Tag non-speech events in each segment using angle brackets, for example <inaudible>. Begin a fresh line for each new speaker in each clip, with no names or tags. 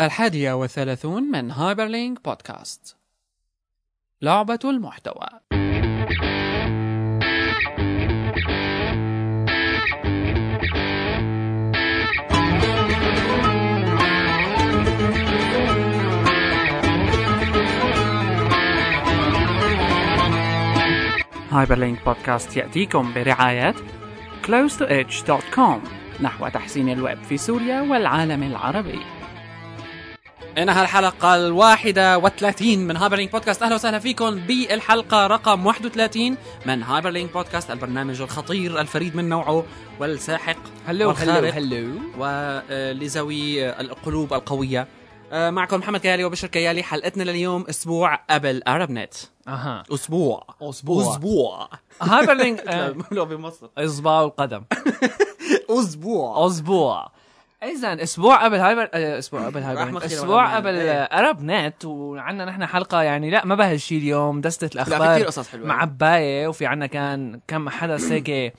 الحادية والثلاثون من هايبرلينك بودكاست لعبة المحتوى هايبرلينك بودكاست يأتيكم برعاية close to edge.com نحو تحسين الويب في سوريا والعالم العربي إنها الحلقة الواحدة والثلاثين من هايبرلينك بودكاست أهلا وسهلا فيكم بالحلقة رقم 31 من هايبرلينك بودكاست البرنامج الخطير الفريد من نوعه والساحق
هلو هلو
والخارق
هلو
ولذوي القلوب القوية آه، معكم محمد كيالي وبشر كيالي حلقتنا لليوم أسبوع قبل أرب نت
اها
أسبوع نعم.
أسبوع.
أسبوع
هايبرلينك
<laughs>
آه،
لو بمصر
اصبع القدم
أسبوع
اسبوع اذا اسبوع قبل هايبر آه، اسبوع قبل
رحمة
هايبر
خير
اسبوع
والأمان.
قبل
إيه.
آه، ارب نت وعندنا نحن حلقه يعني لا ما بها شيء اليوم دستة
لا
الاخبار
في كثير قصص حلوة
معبايه وفي عنا كان كم حدث هيك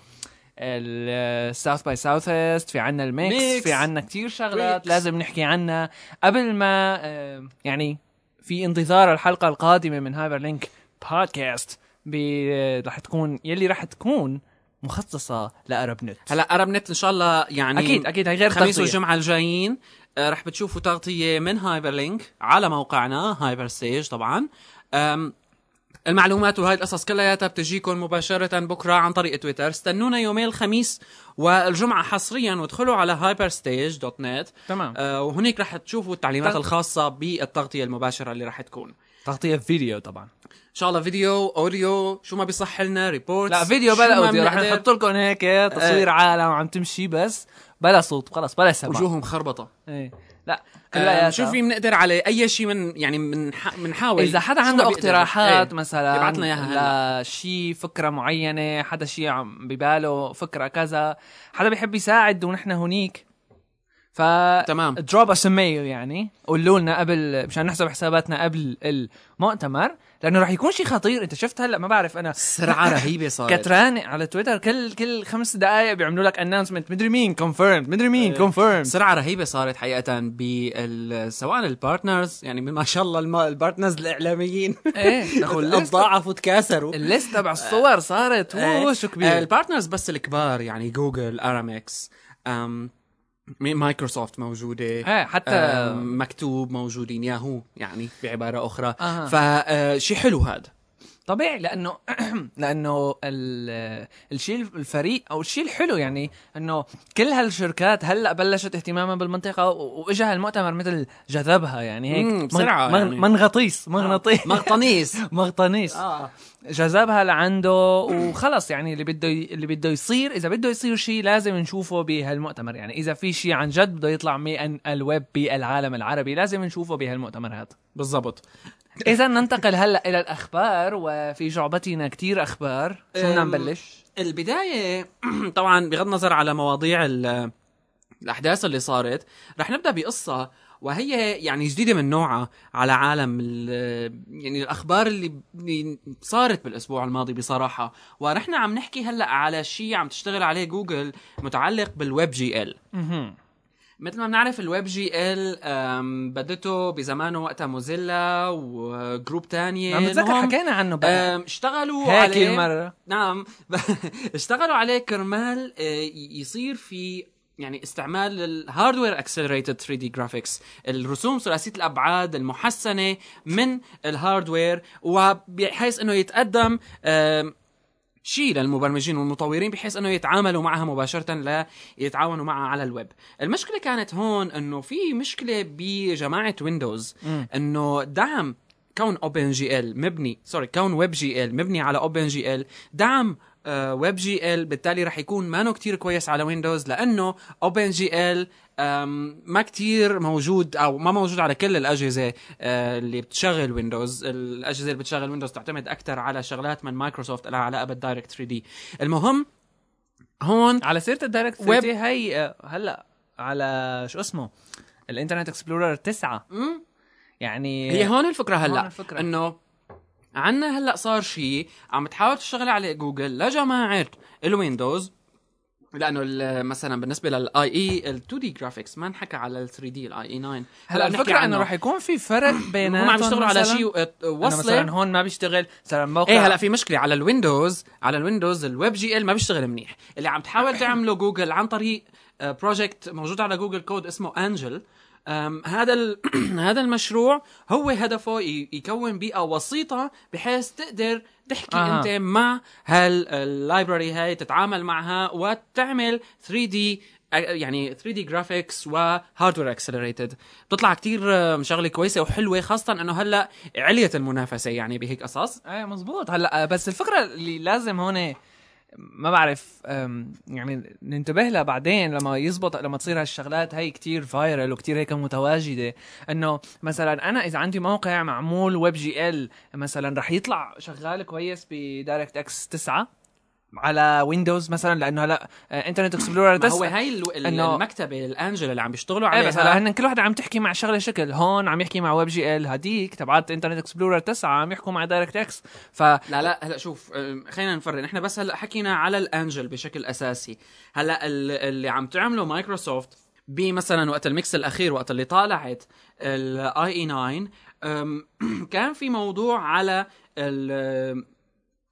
الساوث باي ساوث ايست في عنا
Mix.
الميكس في عنا كتير شغلات
Mix.
لازم نحكي عنها قبل ما آه، يعني في انتظار الحلقه القادمه من هايبر لينك بودكاست ب- رح تكون يلي رح تكون مخصصه لارب نت
هلا ارب نت ان شاء الله يعني
اكيد اكيد هي غير
الخميس
تغطية.
والجمعه الجايين آه، رح بتشوفوا تغطيه من هايبر لينك على موقعنا هايبر ستيج طبعا أم، المعلومات وهي القصص كلياتها بتجيكم مباشرة بكرة عن طريق تويتر استنونا يومين الخميس والجمعة حصريا وادخلوا على هايبرستيج دوت نت
تمام
آه، وهناك رح تشوفوا التعليمات
تغ-
الخاصة بالتغطية المباشرة اللي رح تكون
تغطيه فيديو طبعا
ان شاء الله فيديو اوديو شو ما بيصح لنا ريبورت
لا فيديو بلا اوديو رح نحط لكم هيك تصوير
آه.
عالم عم تمشي بس بلا صوت خلص بلا سمع
وجوههم خربطة
ايه لا
آه،
كلياتها
شو في بنقدر على اي شيء من يعني من بنحاول
اذا حدا
شو
عنده
ما بيقدر.
اقتراحات
إيه.
مثلا
يبعت لنا إياها
لشي فكره معينه حدا شي عم بباله فكره كذا حدا بيحب يساعد ونحن هنيك ف <laughs>
تمام
دروب اس ميل يعني قولوا لنا قبل مشان نحسب حساباتنا قبل المؤتمر لانه رح يكون شي خطير انت شفت هلا ما بعرف انا
سرعة رهيبة صارت
كتران على تويتر كل كل خمس دقائق بيعملوا لك اناونسمنت مدري مين كونفيرم مدري مين
إيه.
كونفيرم
سرعة رهيبة صارت حقيقة بال سواء البارتنرز يعني ما شاء الله الم- البارتنرز الإعلاميين
ايه
إيه. <laughs>
ناخذ الليست
تضاعفوا تكاثروا
الليست تبع الصور صارت
إيه.
ووو شو
آه،
كبير
البارتنرز بس الكبار يعني جوجل ارامكس أم، مي- مايكروسوفت موجودة
ايه حتى
آم، مكتوب موجودين ياهو يعني بعبارة أخرى
أها.
فشي حلو <laughs> هذا
طبيعي <clears throat> لانه لانه ال- الشيء الفريق او الشيء الحلو يعني انه كل هالشركات هلا بلشت اهتمامها بالمنطقه و- واجا هالمؤتمر مثل جذبها يعني هيك
مم، بسرعة
مغ- مغ-
يعني. آه.
منغطيس مغناطيس <laughs>
مغطانيس
مغطانيس
اه
جذبها لعنده وخلص يعني اللي بده ي- اللي بده يصير اذا بده يصير شيء لازم نشوفه بهالمؤتمر يعني اذا في شيء عن جد بده يطلع من الويب بالعالم العربي لازم نشوفه بهالمؤتمر هذا
بالضبط
إذا ننتقل هلا إلى الأخبار وفي جعبتنا كتير أخبار شو بدنا
أم،
نبلش؟
البداية <clears throat> طبعا بغض النظر على مواضيع ال- الأحداث اللي صارت رح نبدأ بقصة وهي يعني جديدة من نوعها على عالم ال- يعني الأخبار اللي ب- اللي صارت بالأسبوع الماضي بصراحة ونحن عم نحكي هلأ على شيء عم تشتغل عليه جوجل متعلق بالويب جي ال مثل ما بنعرف الويب جي ال أم، بدته بزمانه وقتها موزيلا وجروب تانية
عم بتذكر
المهم،
نعم، حكينا عنه بقى
أم، اشتغلوا
هيك
عليه
المرة
نعم <laughs> اشتغلوا عليه كرمال آه، ي- يصير في يعني استعمال الهاردوير اكسلريتد 3 دي جرافيكس الرسوم ثلاثيه الابعاد المحسنه من الهاردوير وبحيث انه يتقدم آم، شيء للمبرمجين والمطورين بحيث انه يتعاملوا معها مباشره لا يتعاونوا معها على الويب المشكله كانت هون انه في مشكله بجماعه ويندوز انه دعم كون اوبن جي ال مبني سوري كون ويب جي ال مبني على اوبن جي ال دعم آه، ويب جي ال بالتالي رح يكون مانو كتير كويس على ويندوز لانه اوبن جي ال أم، ما كتير موجود او ما موجود على كل الاجهزه آه، اللي بتشغل ويندوز الاجهزه اللي بتشغل ويندوز تعتمد اكثر على شغلات من مايكروسوفت لها علاقه بالدايركت 3 دي المهم هون
على سيرة الدايركت
ويب.
3 دي هي آه، هلا على شو اسمه الانترنت اكسبلورر 9 يعني
هي هون الفكره هلا
هون الفكرة.
انه عنا هلا صار شيء عم تحاول تشتغل عليه جوجل لجماعه الويندوز لانه ال- مثلا بالنسبه للاي اي E، ال 2 دي جرافيكس ما انحكى على ال 3 دي الاي اي 9
هلا
نحكي
الفكره انه
عنه.
رح يكون في فرق بين
هم عم يشتغلوا على شيء آه،
مثلا
وصله
هون ما بيشتغل مثلا موقع
إيه،
ايه هلا في مشكله على الويندوز على الويندوز الويب جي ال ما بيشتغل منيح اللي عم تحاول تعمله جوجل عن طريق بروجكت موجود على جوجل كود اسمه انجل أم، هذا ال- <clears throat> هذا المشروع هو هدفه ي- يكون بيئه وسيطه بحيث تقدر تحكي آه.
آه.
انت مع هاللايبرري هاي تتعامل معها وتعمل 3 دي يعني 3 دي جرافيكس وهاردوير اكسلريتد بتطلع كتير
آه،
أم، شغله كويسه وحلوه خاصه انه هلا عليت المنافسه يعني بهيك قصص
ايه مزبوط هلا بس الفكره اللي لازم هون آه، ما بعرف أم، يعني ننتبه لها بعدين لما يزبط لما تصير هالشغلات هي كتير فايرل وكتير هيك متواجده انه مثلا انا اذا عندي موقع معمول ويب جي ال مثلا رح يطلع شغال كويس بدايركت اكس 9 على ويندوز مثلا لانه هلا آه، انترنت اكسبلورر
ما هو
9
هاي الو- ال-
إنه-
المكتبه الانجل اللي عم بيشتغلوا
ايه
عليها
بس هلا هن كل واحد عم تحكي مع شغله شكل هون عم يحكي مع ويب جي ال هديك تبعت انترنت اكسبلورر 9 عم يحكوا مع دايركت اكس ف
لا لا هلا شوف أم، خلينا نفرق نحن بس هلا حكينا على الانجل بشكل اساسي هلا ال- اللي عم تعمله مايكروسوفت بمثلا وقت الميكس الاخير وقت اللي طالعت الاي اي 9 أم، <clears throat> كان في موضوع على ال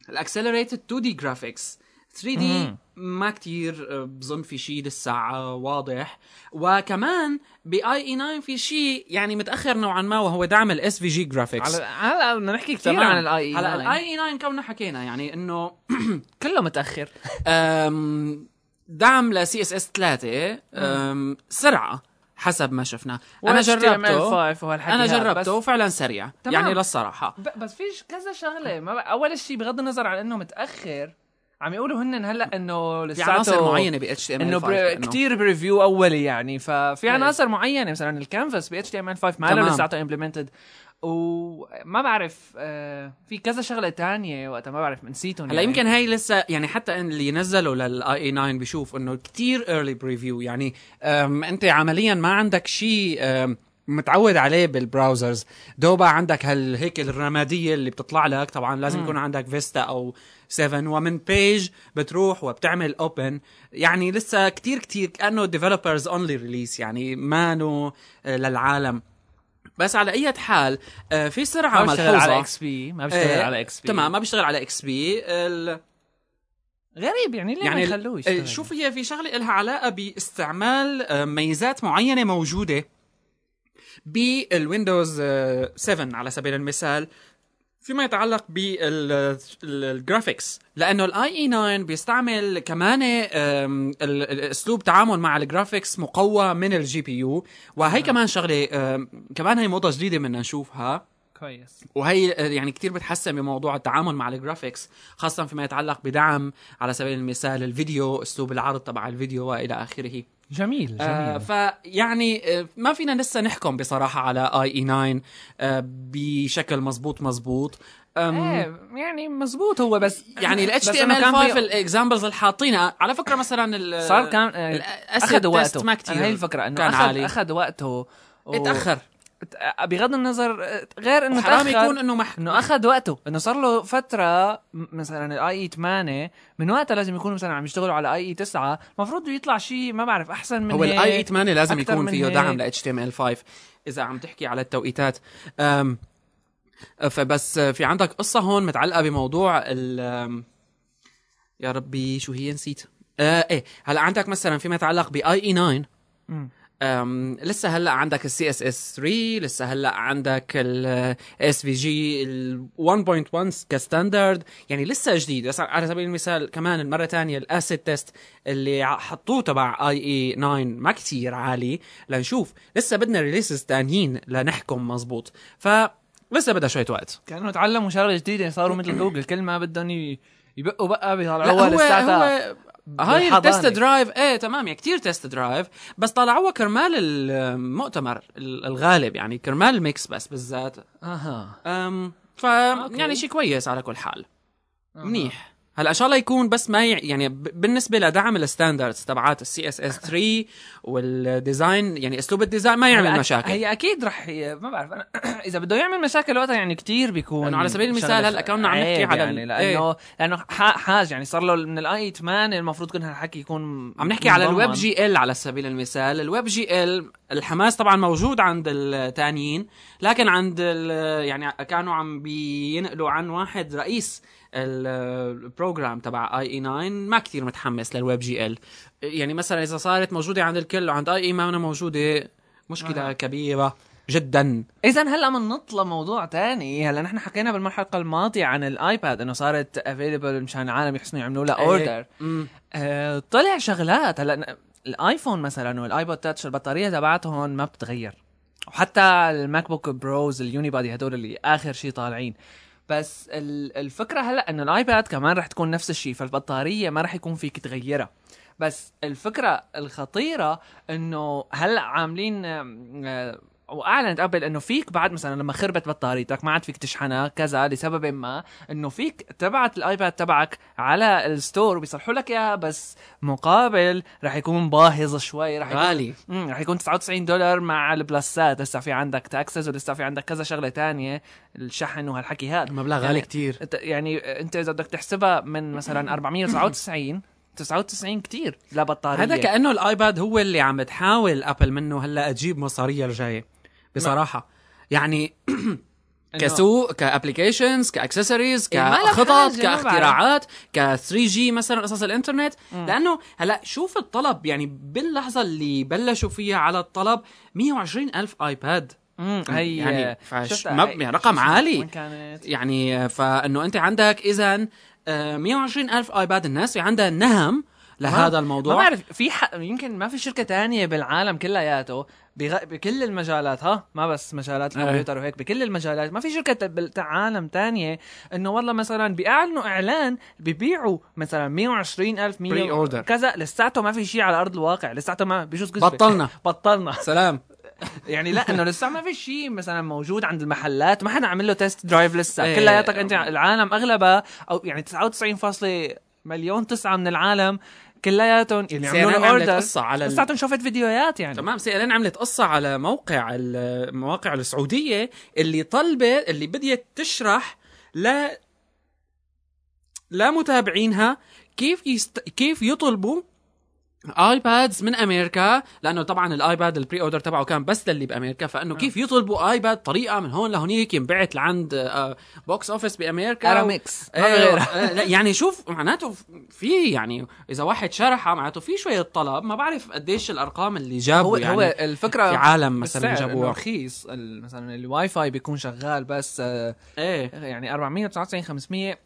الاكسلريتد 2 دي جرافيكس 3 دي
مم.
ما كتير أه، بظن في شيء للساعة واضح وكمان باي اي 9 في شيء يعني متاخر نوعا ما وهو دعم الاس في جي جرافيكس
على هلا بدنا نحكي كثير
تمام.
عن الاي اي
هلا الاي اي 9 كوننا حكينا يعني انه
<clears throat> كله متاخر
أم، دعم لسي اس اس 3 أم، سرعه حسب ما شفنا انا جربته انا جربته وفعلا سريع
تمام.
يعني للصراحه
بس, بس فيش كذا شغله ما بقى اول شيء بغض النظر عن انه متاخر عم يقولوا هن هلا انه
في
لساته
عناصر معينه ب اتش تي ام
انه بر... كثير بريفيو اولي يعني ففي عناصر معينه مثلا الكانفاس ب اتش تي ام ال 5 ما له
إيه. تمام.
لساته امبلمنتد وما بعرف آه في كذا شغله تانية وقتها ما بعرف نسيتهم
هلا يمكن هاي لسه يعني حتى إن اللي نزلوا للاي اي 9 بشوف انه كتير ايرلي بريفيو يعني أم انت عمليا ما عندك شيء أم، متعود عليه بالبراوزرز دوبا عندك هال هيك الرماديه اللي بتطلع لك طبعا لازم يكون عندك فيستا او 7 ومن بيج بتروح وبتعمل اوبن يعني لسه كتير كتير كانه ديفلوبرز اونلي ريليس يعني مانو آه، للعالم بس على اي حال آه، في سرعه
ما بشتغل على
ملحوظه
اكس بي ما بشتغل
إيه،
على اكس بي
تمام ما بيشتغل على اكس بي
غريب يعني ليه
يعني
ما يخلوه
آه،
يشتغل
شوف هي في شغله لها علاقه باستعمال آه، ميزات معينه موجوده بالويندوز آه، 7 على سبيل المثال فيما يتعلق بالجرافيكس لانه الاي اي 9 E بيستعمل كمان آم، ال- ال- اسلوب تعامل مع الجرافيكس مقوى من الجي بي يو وهي
نعم.
كمان شغله آم، كمان هي موضه جديده بدنا نشوفها
كويس
وهي يعني كتير بتحسن بموضوع التعامل مع الجرافيكس خاصة فيما يتعلق بدعم على سبيل المثال الفيديو اسلوب العرض تبع الفيديو والى اخره
جميل جميل
آه فيعني آه ما فينا لسه نحكم بصراحة على اي اي 9 آه بشكل مزبوط مزبوط أم
ايه يعني مزبوط هو بس
يعني ال
بس إنه كان
HTML5
في-
الاكزامبلز اللي حاطينها على فكرة مثلا ال-
صار كان
ال-
آه،
acid test
اخذ وقته
ما كتير
أنا هي الفكره انه
كان
اخذ
عالي.
اخذ وقته و-
اتأخر
ت- بغض النظر آه، غير انه
حرام
تأخر،
يكون انه مح...
انه اخذ وقته انه صار له فتره م- مثلا الاي اي 8 من وقتها لازم يكونوا مثلا عم يشتغلوا على اي اي 9 المفروض يطلع شيء ما بعرف احسن من
هو
هيك.
الاي اي 8 لازم
أكتر
يكون
من
فيه دعم ل
هيك.
HTML5 اذا عم تحكي على التوقيتات أم فبس في عندك قصه هون متعلقه بموضوع ال أم، يا ربي شو هي نسيت آه ايه هلا عندك مثلا فيما يتعلق باي اي 9
مم.
أم لسه هلا عندك السي اس اس 3 لسه هلا عندك الاس في جي ال 1.1 كستاندرد يعني لسه جديد بس على سبيل المثال كمان مره ثانيه الاسيد تيست اللي ع- حطوه تبع اي اي 9 ما كتير عالي لنشوف لسه بدنا ريليسز تانيين لنحكم مزبوط ف لسه بدها شويه وقت
كانه تعلموا شغله جديده
<clears throat>
صاروا مثل جوجل كل ما بدهم ي- يبقوا
لا،
بقى بيطلعوها لساتها
هاي
بالحضانة.
التست درايف ايه تمام يعني كتير تست درايف بس طلعوها كرمال المؤتمر ال- الغالب يعني كرمال الميكس بس بالذات
اها
أم ف
آه، أوكي.
يعني شيء كويس على كل حال
أها.
منيح هلا ان شاء الله يكون بس ما ي... يعني ب- بالنسبه لدعم الستاندردز تبعات السي اس اس 3 والديزاين يعني اسلوب الديزاين ما يعمل
هلا أك-
مشاكل
هي اكيد رح ي- ما بعرف <clears throat> انا اذا بده يعمل مشاكل وقتها يعني كتير بيكون
لأنه على سبيل المثال
شغلة
هلأ كنا عم نحكي
عيب
على
يعني
ال- إيه.
لانه لانه ح- حاج يعني صار له من الاي 8 المفروض كان هالحكي يكون
عم نحكي على
منضمن.
الويب جي ال على سبيل المثال الويب جي ال الحماس طبعا موجود عند التانيين لكن عند ال- يعني كانوا عم بينقلوا عن واحد رئيس ال- البروجرام تبع اي اي 9 ما كثير متحمس للويب جي ال يعني مثلا اذا صارت موجوده عند الكل وعند اي اي ما أنا موجوده مشكله كبيره جدا
اذا هلا بننط لموضوع تاني هلا نحن حكينا بالحلقه الماضيه عن الايباد انه صارت افيلبل مشان العالم يحسنوا يعملوا لها اوردر
إيه. مم.
آه طلع شغلات هلا ن- الايفون مثلا والايبود تاتش البطاريه تبعتهم ما بتغير وحتى الماك بوك بروز اليونيبادي هدول اللي اخر شيء طالعين بس ال- الفكره هلا انه الايباد كمان رح تكون نفس الشيء فالبطاريه ما رح يكون فيك تغيرها بس الفكره الخطيره انه هلا عاملين آم، آه، واعلنت ابل انه فيك بعد مثلا لما خربت بطاريتك ما عاد فيك تشحنها كذا لسبب ما انه فيك تبعت الايباد تبعك على الستور وبيصلحوا لك اياها بس مقابل رح يكون باهظ شوي رح يكون
غالي
امم رح يكون 99 دولار مع البلاسات لسه في عندك تاكسس ولسه في عندك كذا شغله تانية الشحن وهالحكي هذا
مبلغ
يعني-
غالي كتير
أنت- يعني انت اذا بدك تحسبها من
<coughs>
مثلا 499 99 كتير لا بطاريه
هذا كانه الايباد هو اللي عم تحاول ابل منه هلا اجيب مصاريه الجايه بصراحه يعني
إنه-
كسوق كابلكيشنز كاكسسوارز
إيه، ما لك
كخطط
حاجة، ما
كاختراعات ك 3 جي مثلا قصص الانترنت لانه هلا شوف الطلب يعني باللحظه اللي بلشوا فيها على الطلب 120 الف ايباد
امم هي
يعني فش-
شفتها
ما-
هي-
يعني رقم
شو اسمها؟
عالي.
وين كانت
يعني فانه انت عندك آه، اذا 120 الف ايباد الناس في عندها نهم لهذا الموضوع
ما بعرف في حق يمكن ما في شركه تانية بالعالم كلياته بغ... بكل المجالات ها ما بس مجالات
إيه.
الكمبيوتر وهيك بكل المجالات ما في شركه بالعالم تانية انه والله مثلا بيعلنوا اعلان ببيعوا مثلا 120 الف
Pre order.
كذا لساته ما في شيء على ارض الواقع لساته ما بجوز كذبة.
بطلنا.
<laughs> بطلنا
سلام
يعني لا انه لسه ما في شيء مثلا موجود عند المحلات ما حدا عمل له تيست درايف لسه
إيه.
إيه. كلياتك انت العالم اغلبها او يعني 99 فاصلة مليون تسعة من العالم كلياتهم اللي عملوا
CNN عملت
له اوردر
يعني قصة على ال-
لساتهم شافت فيديوهات يعني
تمام سي ان عملت قصه على موقع ال- المواقع السعوديه اللي طلبه اللي بديت تشرح لا لا متابعينها كيف يست... كيف يطلبوا ايبادز من امريكا لانه طبعا الايباد البري اوردر تبعه كان بس للي بامريكا فانه
آه.
كيف يطلبوا ايباد طريقه من هون لهونيك ينبعت لعند آه، بوكس اوفيس بامريكا
ارامكس ما في
ايه
غيرها
آه، لا، يعني شوف معناته في يعني اذا واحد شرحها معناته في شويه طلب ما بعرف قديش الارقام اللي جابوا
هو
يعني
هو الفكره
في عالم مثلا
بالسعر إنه
جابوها
رخيص ال- مثلا الواي فاي بيكون شغال بس آه،
ايه
يعني 499 500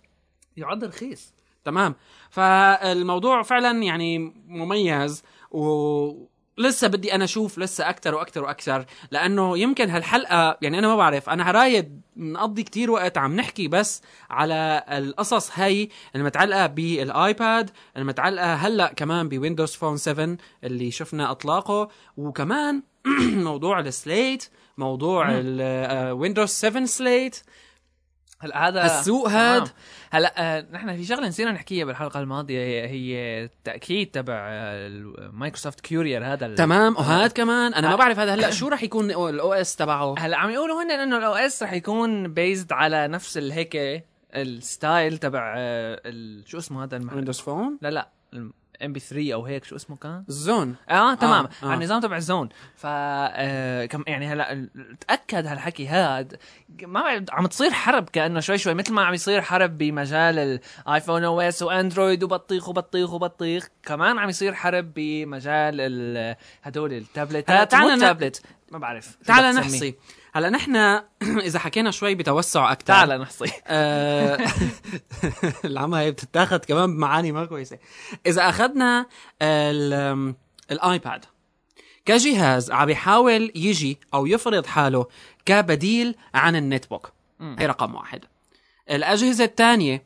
يعد رخيص
تمام فالموضوع فعلا يعني مميز و لسه بدي انا اشوف لسه اكثر واكثر واكثر لانه يمكن هالحلقه يعني انا ما بعرف انا رايد نقضي كتير وقت عم نحكي بس على القصص هي المتعلقه بالايباد المتعلقه هلا كمان بويندوز فون 7 اللي شفنا اطلاقه وكمان <clears throat> موضوع السليت موضوع الويندوز 7 سليت
هلا هذا
السوق
آه، تمام.
هاد.
هلا آه، نحن في شغله نسينا نحكيها بالحلقه الماضيه هي, هي التاكيد تبع مايكروسوفت كيورير هذا ال-
تمام وهاد كمان انا ما بعرف هذا هلا شو راح يكون الاو اس تبعه
هلا عم يقولوا هن انه الاو اس رح يكون بيزد على نفس الهيك الستايل تبع آه، ال- شو اسمه هذا المحل
ويندوز فون
لا لا ام بي 3 او هيك شو اسمه كان
الزون
اه تمام
آه،
آه.
آه.
على النظام تبع الزون ف آه، كم يعني هلا ال- تاكد هالحكي هاد ما بعرف، عم تصير حرب كانه شوي شوي مثل ما عم يصير حرب بمجال الايفون او اس واندرويد وبطيخ وبطيخ وبطيخ كمان عم يصير حرب بمجال ال- هدول
هلا
التابلتات
تعال
مو
ن-
التابلت ما بعرف شو
تعال
بدك تسميه.
نحصي هلا نحن <coughs> اذا حكينا شوي بتوسع اكثر
تعال نحصي
آه، <laughs> العمى هي بتتاخد كمان بمعاني ما كويسه اذا اخذنا ال- آم، الايباد كجهاز عم يحاول يجي او يفرض حاله كبديل عن النت بوك هي رقم واحد الاجهزه الثانيه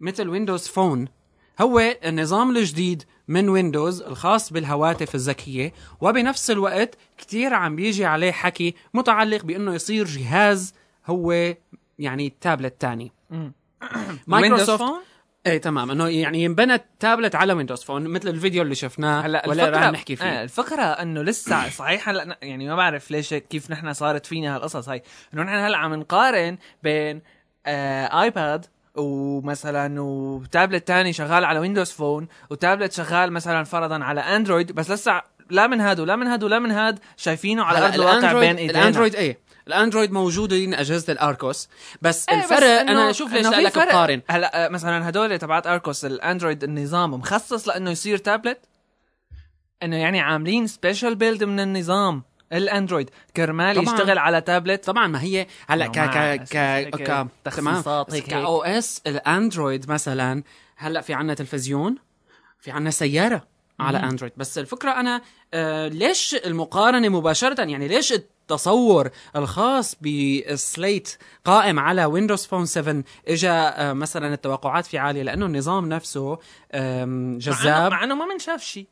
مثل ويندوز فون هو النظام الجديد من ويندوز الخاص بالهواتف الذكية وبنفس الوقت كتير عم بيجي عليه حكي متعلق بأنه يصير جهاز هو يعني تابلت تاني
مم.
<coughs> مايكروسوفت
Windows Phone؟
ايه تمام انه يعني ينبنى التابلت على ويندوز فون مثل الفيديو اللي شفناه
هلا
ولا
الفكره
رح نحكي فيه
آه الفكره انه <coughs> لسه صحيح هلا ن- يعني ما بعرف ليش هيك كيف نحن صارت فينا هالقصص هاي انه نحن هلا عم نقارن بين آه ايباد ومثلا وتابلت تاني شغال على ويندوز فون وتابلت شغال مثلا فرضا على اندرويد بس لسه لا من هاد ولا من هاد ولا من هاد شايفينه على
هلا
ارض الواقع
الأندرويد-
بين ايدينا
الاندرويد ايه الاندرويد موجودين اجهزه الاركوس بس
إيه، بس
الفرق
إنه-
انا اشوف ليش
إنه في
لك
فرق.
بقارن
هلا آه، مثلا هدول تبعت اركوس الاندرويد النظام مخصص لانه يصير تابلت انه يعني عاملين سبيشال بيلد من النظام الاندرويد كرمال
طبعاً.
يشتغل على تابلت
طبعا ما هي هلا ك
نوعاً
ك ك
هيك
ك
تخصيصات هيك
ك
هيك.
او اس الاندرويد مثلا هلا في عنا تلفزيون في عنا سياره على اندرويد بس الفكره انا آه ليش المقارنه مباشره يعني ليش التصور الخاص بسليت قائم على ويندوز فون 7 اجى آه، مثلا التوقعات في عاليه لانه النظام نفسه آم،
مع إنه-
جذاب
مع انه ما منشاف شيء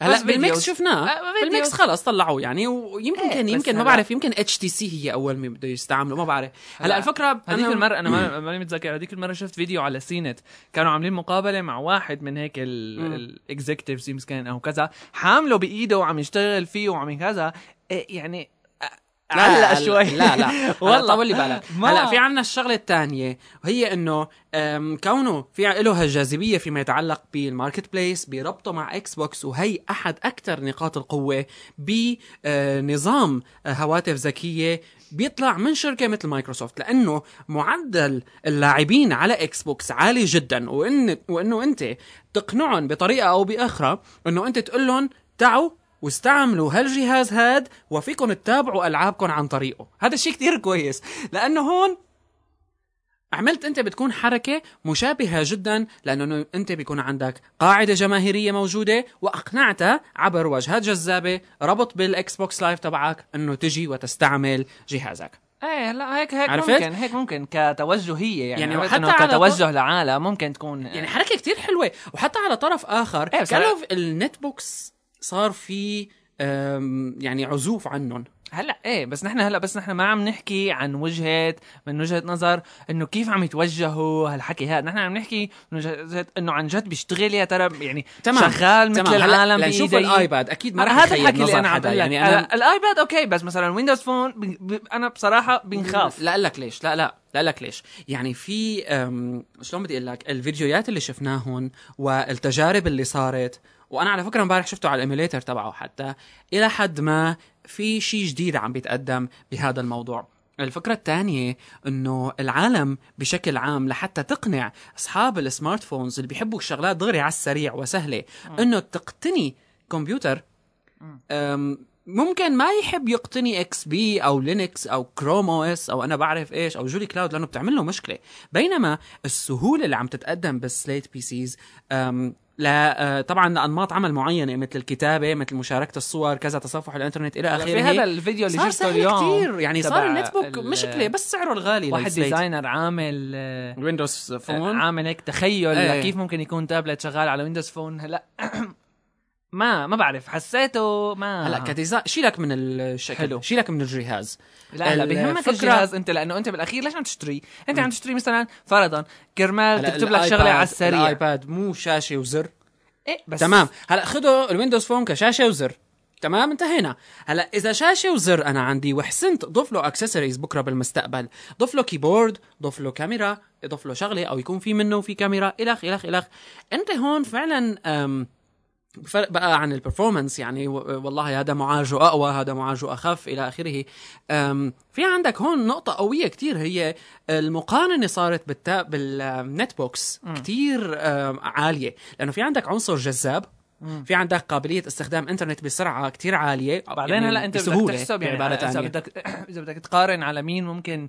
بس
هلا
فيديوز.
بالميكس شفناه
آه، فيديوز.
بالميكس خلص طلعوه يعني ويمكن
إيه،
كان
بس
يمكن ما
هلا-
بعرف يمكن اتش تي سي هي اول ما بده يستعملوا ما بعرف هلا
هلا
الفكره
هذيك
أنا-
المرة أنا ما- ماني متذكر هذيك المرة شفت فيديو على سينت كانوا عاملين مقابلة مع واحد من هيك الاكزيكتيفز يمكن أو كذا حامله بإيده وعم يشتغل فيه وعم كذا إيه يعني أ- علق شوي
لا
<laughs>
لا والله
والله
طولي بالك
ما-
هلا في عنا الشغله الثانيه وهي انه أم، كونه في له هالجاذبيه فيما يتعلق بالماركت بليس بربطه مع اكس بوكس وهي احد اكثر نقاط القوه بنظام هواتف ذكيه بيطلع من شركه مثل مايكروسوفت لانه معدل اللاعبين على اكس بوكس عالي جدا وان وانه انت تقنعهم بطريقه او باخرى انه انت تقول لهم تعوا واستعملوا هالجهاز هاد وفيكم تتابعوا العابكم عن طريقه هذا الشيء كتير كويس لانه هون عملت انت بتكون حركه مشابهه جدا لانه انت بيكون عندك قاعده جماهيريه موجوده واقنعتها عبر واجهات جذابه ربط بالاكس بوكس لايف تبعك انه تجي وتستعمل جهازك
ايه لا هيك هيك
عرفت؟
ممكن هيك ممكن كتوجهية يعني,
يعني
يعني
حتى
حتى
على
كتوجه لعالم ممكن تكون
يعني حركه كتير حلوه وحتى على طرف اخر
إيه،
ايه
بس
كانوا في النت بوكس صار في أم، يعني عزوف عنهم
هلا ايه بس نحن هلا بس نحن ما عم نحكي عن وجهه من وجهه نظر انه كيف عم يتوجهوا هالحكي هذا نحن عم نحكي من وجهه انه عن جد بيشتغل يا ترى يعني
تمام
شغال مثل
تمام. هلا
العالم
لنشوف
بإيديه.
الايباد اكيد ما رح
هذا
يخيب
الحكي اللي
نظر
انا عم
حدا
بقول لك
يعني انا
يعني الايباد اوكي بس مثلا ويندوز فون ب- ب- انا بصراحه بنخاف
لا لك ليش لا لا لا لك ليش يعني في أم، شلون بدي اقول لك الفيديوهات اللي شفناهم والتجارب اللي صارت وانا على فكره امبارح شفته على الايميليتر تبعه حتى الى حد ما في شيء جديد عم بيتقدم بهذا الموضوع الفكرة الثانية انه العالم بشكل عام لحتى تقنع اصحاب السمارت فونز اللي بيحبوا الشغلات دغري على السريع وسهلة انه تقتني كمبيوتر أم، ممكن ما يحب يقتني اكس بي او لينكس او كروم او اس او انا بعرف ايش او جولي كلاود لانه بتعمل له مشكله بينما السهوله اللي عم تتقدم بالسليت بي سيز أم، لا أه، طبعا لانماط عمل معينه مثل الكتابه مثل مشاركه الصور كذا تصفح الانترنت الى
في
اخره
هذا الفيديو اللي
صار
شفته
سهل
اليوم
كتير يعني
تبع
صار النت بوك
ال-
مشكله بس سعره الغالي
واحد
للسليت. أه،
ديزاينر عامل آه،
ويندوز فون
عامل هيك تخيل
إيه.
لكيف ممكن يكون تابلت شغال على ويندوز فون هلا <clears throat> ما ما بعرف حسيته ما
هلا كديزاين شيلك من الشكل
آه. حلو.
شيلك من الجهاز
لا هلا بيهمك
الفكرة-
الجهاز انت لانه انت بالاخير ليش عم تشتري؟ انت عم تشتري مثلا فرضا كرمال
هلا
تكتب لك شغله
الآيباد-
على السريع
الايباد مو شاشه وزر
إيه بس
تمام هلا خذوا الويندوز فون كشاشه وزر تمام انتهينا هلا اذا شاشه وزر انا عندي وحسنت ضف له اكسسوارز بكره بالمستقبل ضف له كيبورد ضف له كاميرا ضف له شغله او يكون في منه وفي كاميرا الخ الخ الخ انت هون فعلا أم فرق بقى عن البرفورمانس يعني و- والله هذا معالجه اقوى هذا معالجه اخف الى اخره أم، في عندك هون نقطه قويه كتير هي المقارنه صارت بالتا بالنت بوكس كتير أم، عاليه لانه في عندك عنصر جذاب في عندك قابليه استخدام انترنت بسرعه كتير عاليه
بعدين
يعني
هلا انت بدك
بسهولة
تحسب يعني
بعبارة
اذا
تانية.
بدك <coughs> اذا بدك تقارن على مين ممكن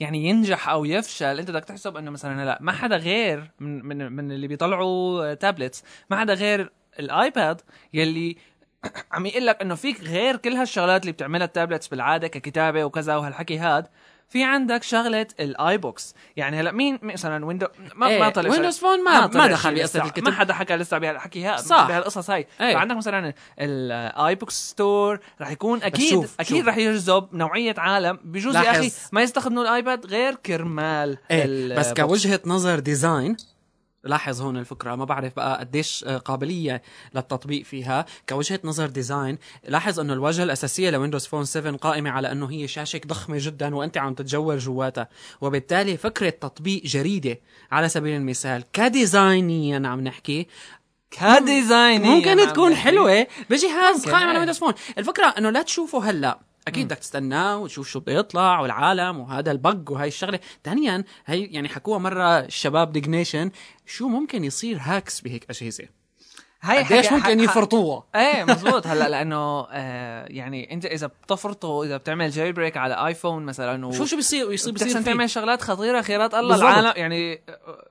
يعني ينجح او يفشل انت بدك تحسب انه مثلا هلا ما حدا غير من من من اللي بيطلعوا تابلتس ما حدا غير الايباد يلي <coughs> عم يقول لك انه فيك غير كل هالشغلات اللي بتعملها التابلتس بالعاده ككتابه وكذا وهالحكي هاد في عندك شغله الاي بوكس يعني هلا مين مثلا ويندو ما,
إيه،
ما طلع شغلة.
ويندوز فون ما-
طلع
ما دخل
شيء
بقصة
لسه.
الكتب.
ما حدا حكى لسه بهالحكي هاد
صح.
بهالقصص هاي
إيه.
فعندك مثلا الاي بوك ستور رح يكون اكيد
شوف-
اكيد
شوف.
رح يجذب نوعيه عالم بجوز يا
لاحظ.
اخي ما يستخدموا الايباد غير كرمال
إيه،
ال-
بس كوجهه نظر ديزاين لاحظ هون الفكره ما بعرف بقى قديش آه، قابليه للتطبيق فيها كوجهه نظر ديزاين لاحظ انه الواجهه الاساسيه لويندوز فون 7 قائمه على انه هي شاشه ضخمه جدا وانت عم تتجول جواتها وبالتالي فكره تطبيق جريده على سبيل المثال كديزاينيا عم نحكي
كديزاين
ممكن تكون حلوه بجهاز قائم على
كمان.
ويندوز فون الفكره انه لا تشوفه هلا اكيد بدك تستناه وتشوف شو بده يطلع والعالم وهذا البق وهي الشغله ثانيا هي يعني حكوها مره الشباب ديجنيشن شو ممكن يصير هاكس بهيك اجهزه
هاي
قديش
حكي-
ممكن
حق-
يفرطوها <laughs>
ايه مزبوط هلا لانه آه يعني انت اذا بتفرطه اذا بتعمل جيري بريك على ايفون مثلا و...
شو شو بيصير يصير بيصير
بتحسن
فيه
تعمل شغلات خطيره خيرات الله
بالضبط.
العالم يعني آه،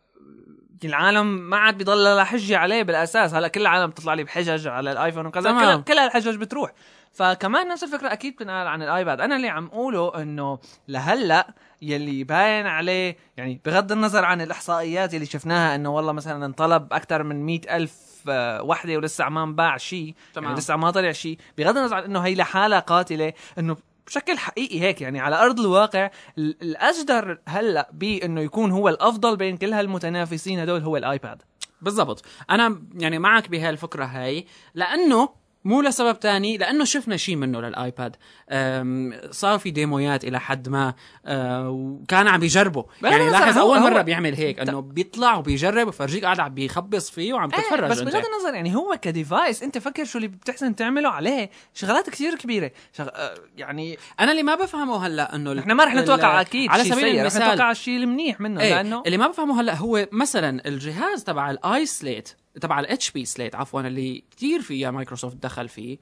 العالم ما عاد بيضل لها حجه عليه بالاساس هلا كل العالم بتطلع لي بحجج على الايفون وكذا
تمام.
كل كل هالحجج بتروح فكمان نفس الفكره اكيد بتنقال عن الايباد انا اللي عم اقوله انه لهلا يلي باين عليه يعني بغض النظر عن الاحصائيات اللي شفناها انه والله مثلا انطلب اكثر من مئة ألف آه، وحده ولسه ما انباع شيء
تمام.
يعني لسه ما طلع شيء بغض النظر عن انه هي لحالها قاتله انه بشكل حقيقي هيك يعني على ارض الواقع ال- الاجدر هلا بانه يكون هو الافضل بين كل هالمتنافسين هدول هو الايباد
بالضبط انا يعني معك بهالفكره هاي لانه مو لسبب تاني لانه شفنا شيء منه للايباد أم، صار في ديمويات الى حد ما أه، وكان عم يجربه
لا،
يعني
لا،
لاحظ
صار هو-
اول
هو-
مره بيعمل هيك انه بيطلع وبيجرب وفرجيك قاعد عم بيخبص فيه وعم تتفرج
إيه، بس بغض
انت
النظر يعني هو كديفايس انت فكر شو اللي بتحسن تعمله عليه شغلات كثير كبيره شغ... آه، يعني
انا اللي ما بفهمه هلا انه ال-
احنا ما رح نتوقع
ال-
اكيد
على
شيء
سبيل
سيء، رح
المثال
نتوقع الشيء المنيح منه
ايه
لانه
اللي ما بفهمه هلا هو مثلا الجهاز تبع الاي سليت تبع الاتش بي سليت عفوا اللي كثير فيها مايكروسوفت دخل فيه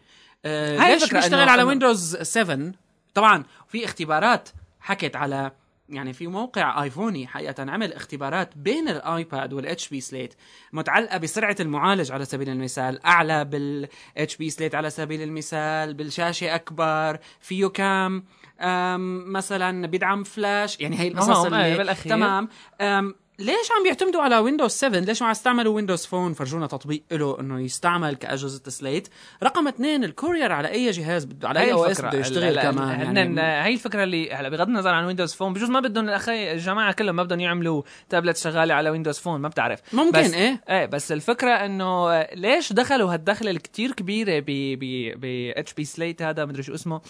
آه
هاي
ليش
الفكرة
بيشتغل
إنه-
على
إنه-
ويندوز 7 طبعا في اختبارات حكت على يعني في موقع ايفوني حقيقه عمل اختبارات بين الايباد والاتش بي سليت متعلقه بسرعه المعالج على سبيل المثال اعلى بالاتش بي سليت على سبيل المثال بالشاشه اكبر فيه كام أم، مثلا بيدعم فلاش يعني هي القصص
آه،
اللي
إيه، بالأخير.
تمام أم ليش عم بيعتمدوا على ويندوز 7 ليش ما عم يستعملوا ويندوز فون فرجونا تطبيق له انه يستعمل كاجهزه سليت رقم اثنين الكورير على اي جهاز بده على اي او اس أيوة، بده يشتغل
هلا- هلا-
كمان
هلا-
يعني
هلا هي الفكره اللي هلا بغض النظر عن ويندوز فون بجوز ما بدهم الاخي الجماعه كلهم ما بدهم يعملوا تابلت شغاله على ويندوز فون ما بتعرف
ممكن،
بس
إيه.
ايه بس الفكره انه ليش دخلوا هالدخله الكتير كبيره ب ب ب اتش بي سليت هذا مدري شو اسمه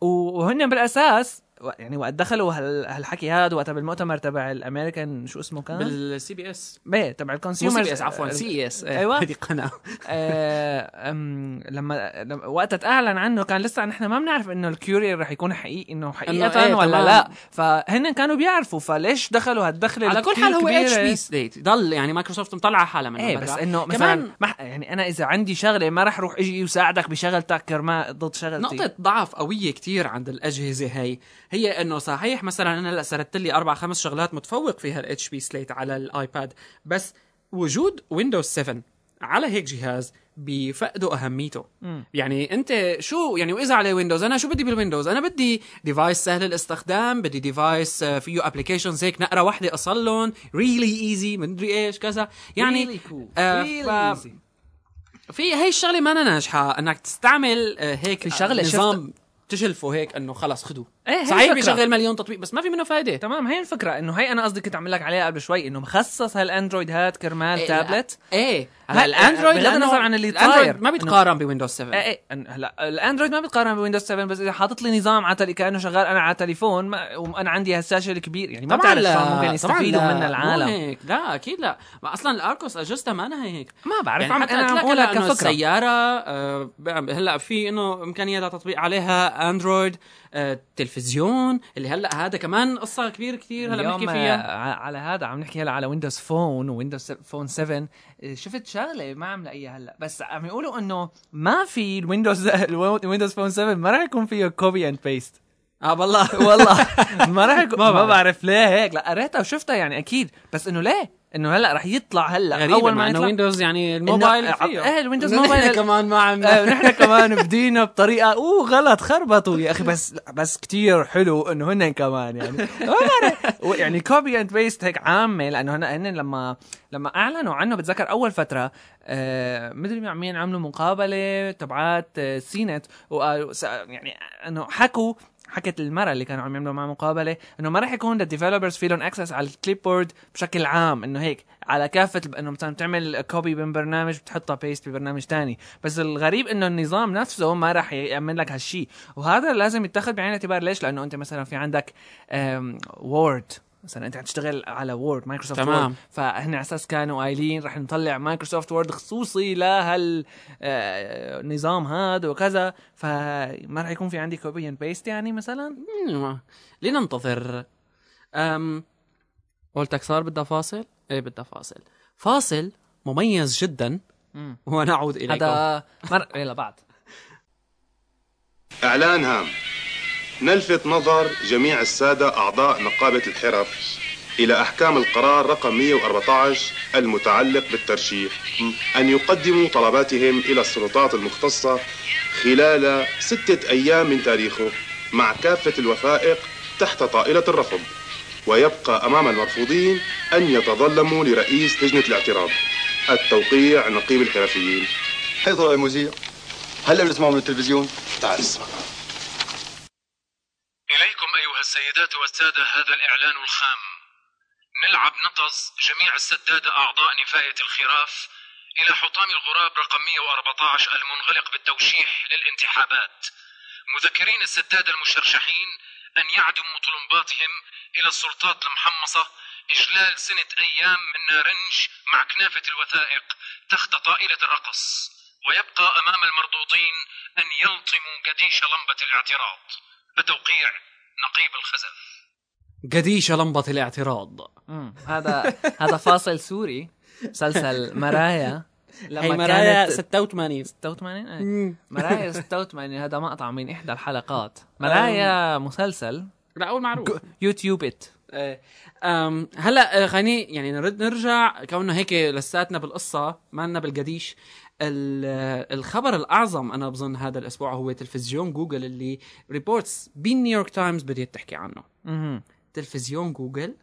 و- وهن بالاساس و- يعني وقت دخلوا هال- هالحكي هذا وقتها بالمؤتمر تبع الامريكان شو اسمه كان؟
بالسي بي اس
ايه تبع
مو سي
الكونسيومرز
بي اس عفوا سي اي اس
أيوة.
إيه. هذه قناه
آه، أم، لما لما- وقتها اعلن عنه كان لسه نحن ما بنعرف انه الكيورير رح يكون حقيقي انه حقيقه
إيه،
ولا
تمام.
لا فهن كانوا بيعرفوا فليش دخلوا هالدخله
على كل
الكتير
حال هو اتش
كبيرة؟
بي سليت ضل يعني مايكروسوفت مطلعه حالها من
ايه بس
برا.
انه
إيه، كمان
مثلا ما ح- يعني انا اذا عندي شغله ما رح اروح اجي وساعدك بشغلتك كرمال ضد شغلتي
نقطة ضعف قوية كتير عند الأجهزة هي هي إنه صحيح مثلا أنا هلا سردت لي أربع خمس شغلات متفوق فيها الاتش بي سليت على الآيباد بس وجود ويندوز 7 على هيك جهاز بفقدوا أهميته
مم.
يعني أنت شو يعني وإذا عليه ويندوز أنا شو بدي بالويندوز أنا بدي ديفايس سهل الاستخدام بدي ديفايس آه، فيه أبليكيشنز هيك نقرة واحدة أصلهم ريلي إيزي مدري إيش كذا يعني آه، ف- في هي الشغله ما أنا ناجحه انك تستعمل آه، هيك
الشغلة
الشغله نظام تجلفه هيك انه خلص خدوه
إيه، هي
صحيح
الفكرة.
بيشغل مليون تطبيق بس ما في منه فائده
تمام هي الفكره انه هي انا قصدي كنت عم لك عليها قبل شوي انه مخصص هالاندرويد هاد كرمال
إيه،
تابلت
ايه هلا
هلا
الاندرويد
بغض
لأنه
النظر عن اللي
الأندرويد
طاير.
ما بيتقارن بويندوز 7
ايه ايه أن- هلا الاندرويد ما بتقارن بويندوز 7 بس اذا حاطط لي نظام على تل- كانه شغال انا على تليفون ما وانا عندي هالشاشه الكبيره يعني ما بتعرف شلون ممكن يستفيدوا
لا،
منها
مو
العالم
هيك لا اكيد لا ما اصلا الاركوس اجهزتها ما أنا هيك
ما بعرف
يعني
عم
حتى
انا عم
قلت لك
اقولها
هلا إنه
كفكره
السيارة آه، بقى- هلا في انه امكانيات تطبيق عليها اندرويد آه، تلفزيون اللي هلا هذا كمان قصة كبيرة كثير هلا
اليوم
بنحكي
آه،
فيها
ع- على هذا عم نحكي هلا على ويندوز فون ويندوز فون 7 آه، شفت شغله ما عم لاقيها هلا بس عم يقولوا انه ما في الويندوز الويندوز فون 7 ما راح يكون فيه كوبي اند بيست
<laughs> اه والله
والله ما راح يكون
ما
ما,
بعرف.
بعرف ليه هيك لا قريتها وشفتها يعني اكيد بس انه ليه انه هلا راح يطلع هلا
غريبة
اول ما
مع إنه
يطلع
ويندوز يعني الموبايل
إنه-
فيه <laughs>
إيه، الويندوز
إنه
موبايل-
نحن
<laughs>
كمان ما عم <laughs>
آه، ونحن كمان بدينا بطريقه اوه غلط خربطوا يا اخي بس لا، بس كتير حلو انه هن كمان يعني ما بعرف. و- يعني كوبي اند بيست هيك عامه لانه هن هن لما لما اعلنوا عنه بتذكر اول فتره آه مدري مع آه، مين عملوا مقابله تبعات آه، سينت وقالوا سأ- يعني انه حكوا حكت المره اللي كانوا عم يعملوا معها مقابله انه ما راح يكون للديفلوبرز في لهم اكسس على الكليب بورد بشكل عام انه هيك على كافه الب- انه مثلا بتعمل كوبي من برنامج بتحطها بيست ببرنامج تاني بس الغريب انه النظام نفسه ما راح يعمل لك هالشي وهذا لازم يتاخذ بعين الاعتبار ليش لانه انت مثلا في عندك وورد مثلا انت عم تشتغل على وورد مايكروسوفت
تمام.
وورد فهن على اساس كانوا قايلين رح نطلع مايكروسوفت وورد خصوصي لهالنظام هذا وكذا فما رح يكون في عندي كوبي اند بيست يعني مثلا
مم، لننتظر أم قلتك صار بدها فاصل؟ ايه بدها فاصل فاصل مميز جدا ونعود إليكم
هذا مر... يلا بعد
إعلان هام نلفت نظر جميع السادة أعضاء نقابة الحرف إلى أحكام القرار رقم 114 المتعلق بالترشيح أن يقدموا طلباتهم إلى السلطات المختصة خلال ستة أيام من تاريخه مع كافة الوثائق تحت طائلة الرفض ويبقى أمام المرفوضين أن يتظلموا لرئيس لجنة الاعتراض التوقيع نقيب الحرفيين
حي طلع المذيع هلا بنسمعه من التلفزيون
تعال اسمع
إليكم أيها السيدات والسادة هذا الإعلان الخام ملعب نطز جميع السدادة أعضاء نفاية الخراف إلى حطام الغراب رقم 114 المنغلق بالتوشيح للانتحابات مذكرين السدادة المشرشحين أن يعدموا طلمباتهم إلى السلطات المحمصة إجلال سنة أيام من نارنج مع كنافة الوثائق تحت طائلة الرقص ويبقى أمام المرضوطين أن يلطموا قديش لمبة الاعتراض بتوقيع نقيب الخزف
قديش لمبة الاعتراض
مم. هذا هذا فاصل سوري مسلسل
<laughs>
مرايا
هي مرايا
كانت
86
86 إيه.
<laughs>
مرايا 86 هذا مقطع من احدى الحلقات مرايا مسلسل
لا أول معروف
يوتيوب ات
إيه. أم، هلا آه، خليني يعني نرد نرجع كونه هيك لساتنا بالقصه ما لنا بالقديش ال- آه، الخبر الاعظم انا بظن هذا الاسبوع هو تلفزيون جوجل اللي ريبورتس بالنيويورك تايمز بديت تحكي عنه تلفزيون جوجل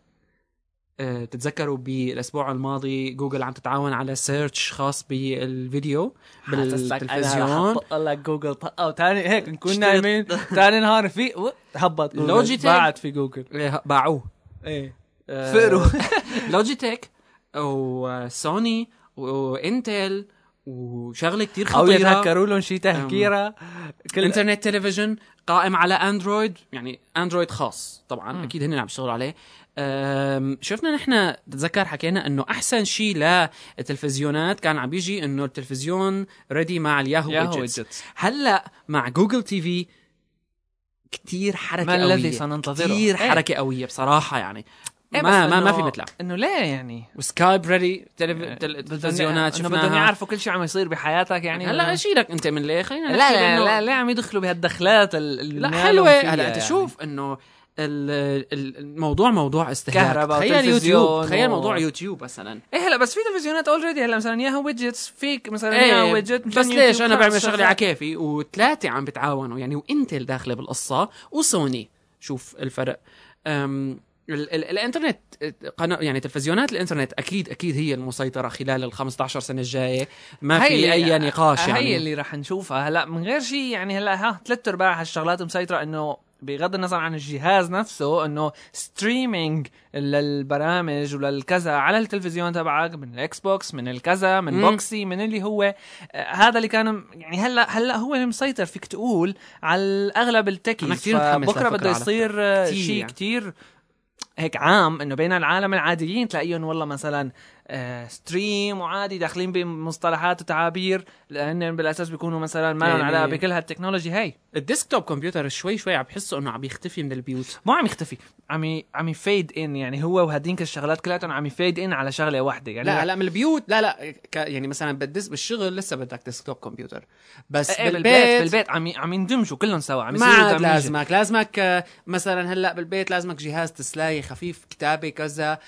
آه، تتذكروا بالاسبوع الماضي جوجل عم تتعاون على سيرش خاص بالفيديو بالتلفزيون
لك جوجل طقه وثاني هيك نكون
شتت.
نايمين ثاني نهار في و- هبط جوجل.
لوجيتك.
بعد في جوجل
إيه، باعوه
ايه
آه،
فقروا <laughs>
لوجيتك وسوني وانتل وشغله كتير
او
خطيره
يتهكروا لهم شي تهكيره كل
الانترنت تلفزيون قائم على اندرويد يعني اندرويد خاص طبعا م. اكيد هن عم يشتغلوا نعم عليه أم، شفنا نحن تتذكر حكينا انه احسن شيء للتلفزيونات كان عم بيجي انه التلفزيون ريدي مع الياهو
ياهو
widgets.
widgets.
هلا مع جوجل تي في كتير حركه
ما
قويه
الذي سننتظره؟
كتير
إيه.
حركه قويه بصراحه يعني
إيه، بس
ما ما ما في
إنه-
مثلها إيه.
انه ليه يعني
وسكايب ريدي تلفزيونات
بدهم- إنه بدهم
شفناها
يعرفوا كل شيء عم يصير بحياتك يعني
هلا اشيلك انت من ليه خلينا
لا
نحكي
لا
بإنه-
لا ليه عم يدخلوا بهالدخلات ال-
لا
اللي
حلوه
نالهم فيها
هلا انت
يعني.
شوف انه ال- ال- الموضوع موضوع استهلاك
كهرباء
تخيل
وتلفزيون
يوتيوب تخيل
و-
موضوع يوتيوب مثلا
ايه هلا بس في تلفزيونات اوريدي هلا مثلا ياهو ويدجتس فيك مثلا ياهو
ايه
ويدجت
بس ليش انا بعمل شغلي على كيفي وثلاثه عم بتعاونوا يعني وانتل داخله بالقصه وسوني شوف الفرق أم ال- ال- الانترنت قناه يعني تلفزيونات الانترنت اكيد اكيد هي المسيطره خلال ال 15 سنه الجايه ما في اي نقاش يعني
هي آه، اللي رح نشوفها هلا من غير شيء يعني هلا ها ثلاث ارباع هالشغلات مسيطره انه بغض النظر عن الجهاز نفسه انه ستريمينج للبرامج وللكذا على التلفزيون تبعك من الاكس بوكس من الكذا من
مم.
بوكسي من اللي هو آه، هذا اللي كان يعني هلا هلا هو اللي مسيطر فيك تقول على اغلب التكيز
أنا كتير متحمس
بكره
لهالفكرة
بده
على فكرة.
يصير آه،
كتير
شيء
يعني.
كتير هيك عام انه بين العالم العاديين تلاقيهم والله مثلا آه ستريم وعادي داخلين بمصطلحات وتعابير لان بالاساس بيكونوا مثلا ما لهم
يعني-
علاقه بكل هالتكنولوجي هي
الديسكتوب كمبيوتر شوي شوي عم بحسه انه عم يختفي من البيوت
مو عم يختفي عم ي- عم يفيد ان يعني هو وهدينك الشغلات كلياتهم عم يفيد ان على شغله واحده يعني
لا لا من البيوت لا لا ك يعني مثلا بالديس بالشغل لسه بدك ديسكتوب كمبيوتر بس
إيه،
بالبيت,
بالبيت بالبيت عم ي- عم يندمجوا كلهم سوا عم
ما
يصيروا
عاد
دمجة.
لازمك لازمك آه، مثلا هلا بالبيت لازمك جهاز تسلاي خفيف كتابه كذا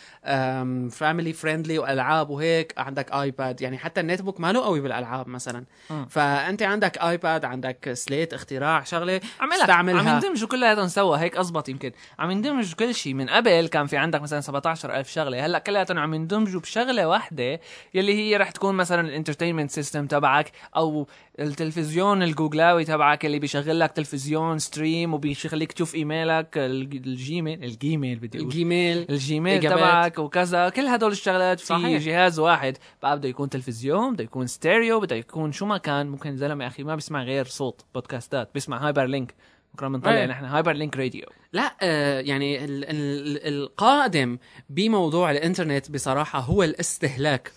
فاميلي فريندلي والعاب وهيك عندك ايباد يعني حتى النت بوك ما له قوي بالالعاب مثلا فانت عندك ايباد عندك سليت اختراع شغله
عم لك عم
استعملها
يندمجوا كلياتهم سوا هيك ازبط يمكن عم يندمجوا كل شيء من قبل كان في عندك مثلا 17000 شغله هلا كلياتهم عم يندمجوا بشغله واحده يلي هي رح تكون مثلا الانترتينمنت سيستم تبعك او التلفزيون الجوجلاوي تبعك اللي بيشغل لك تلفزيون ستريم وبيخليك تشوف ايميلك الج- الجيميل الجيميل بدي اقول
الجيميل
الجيميل
إجابات.
تبعك وكذا كل هدول الشغلات في
صحيح.
صحيح. جهاز واحد بقى بده يكون تلفزيون بده يكون ستيريو بده يكون شو ما كان ممكن زلمه اخي ما بيسمع غير صوت بودكاستات بيسمع هايبر لينك بكره
إيه.
بنطلع نحن هايبر لينك راديو
لا آه، يعني ال ال القادم بموضوع الانترنت بصراحه هو الاستهلاك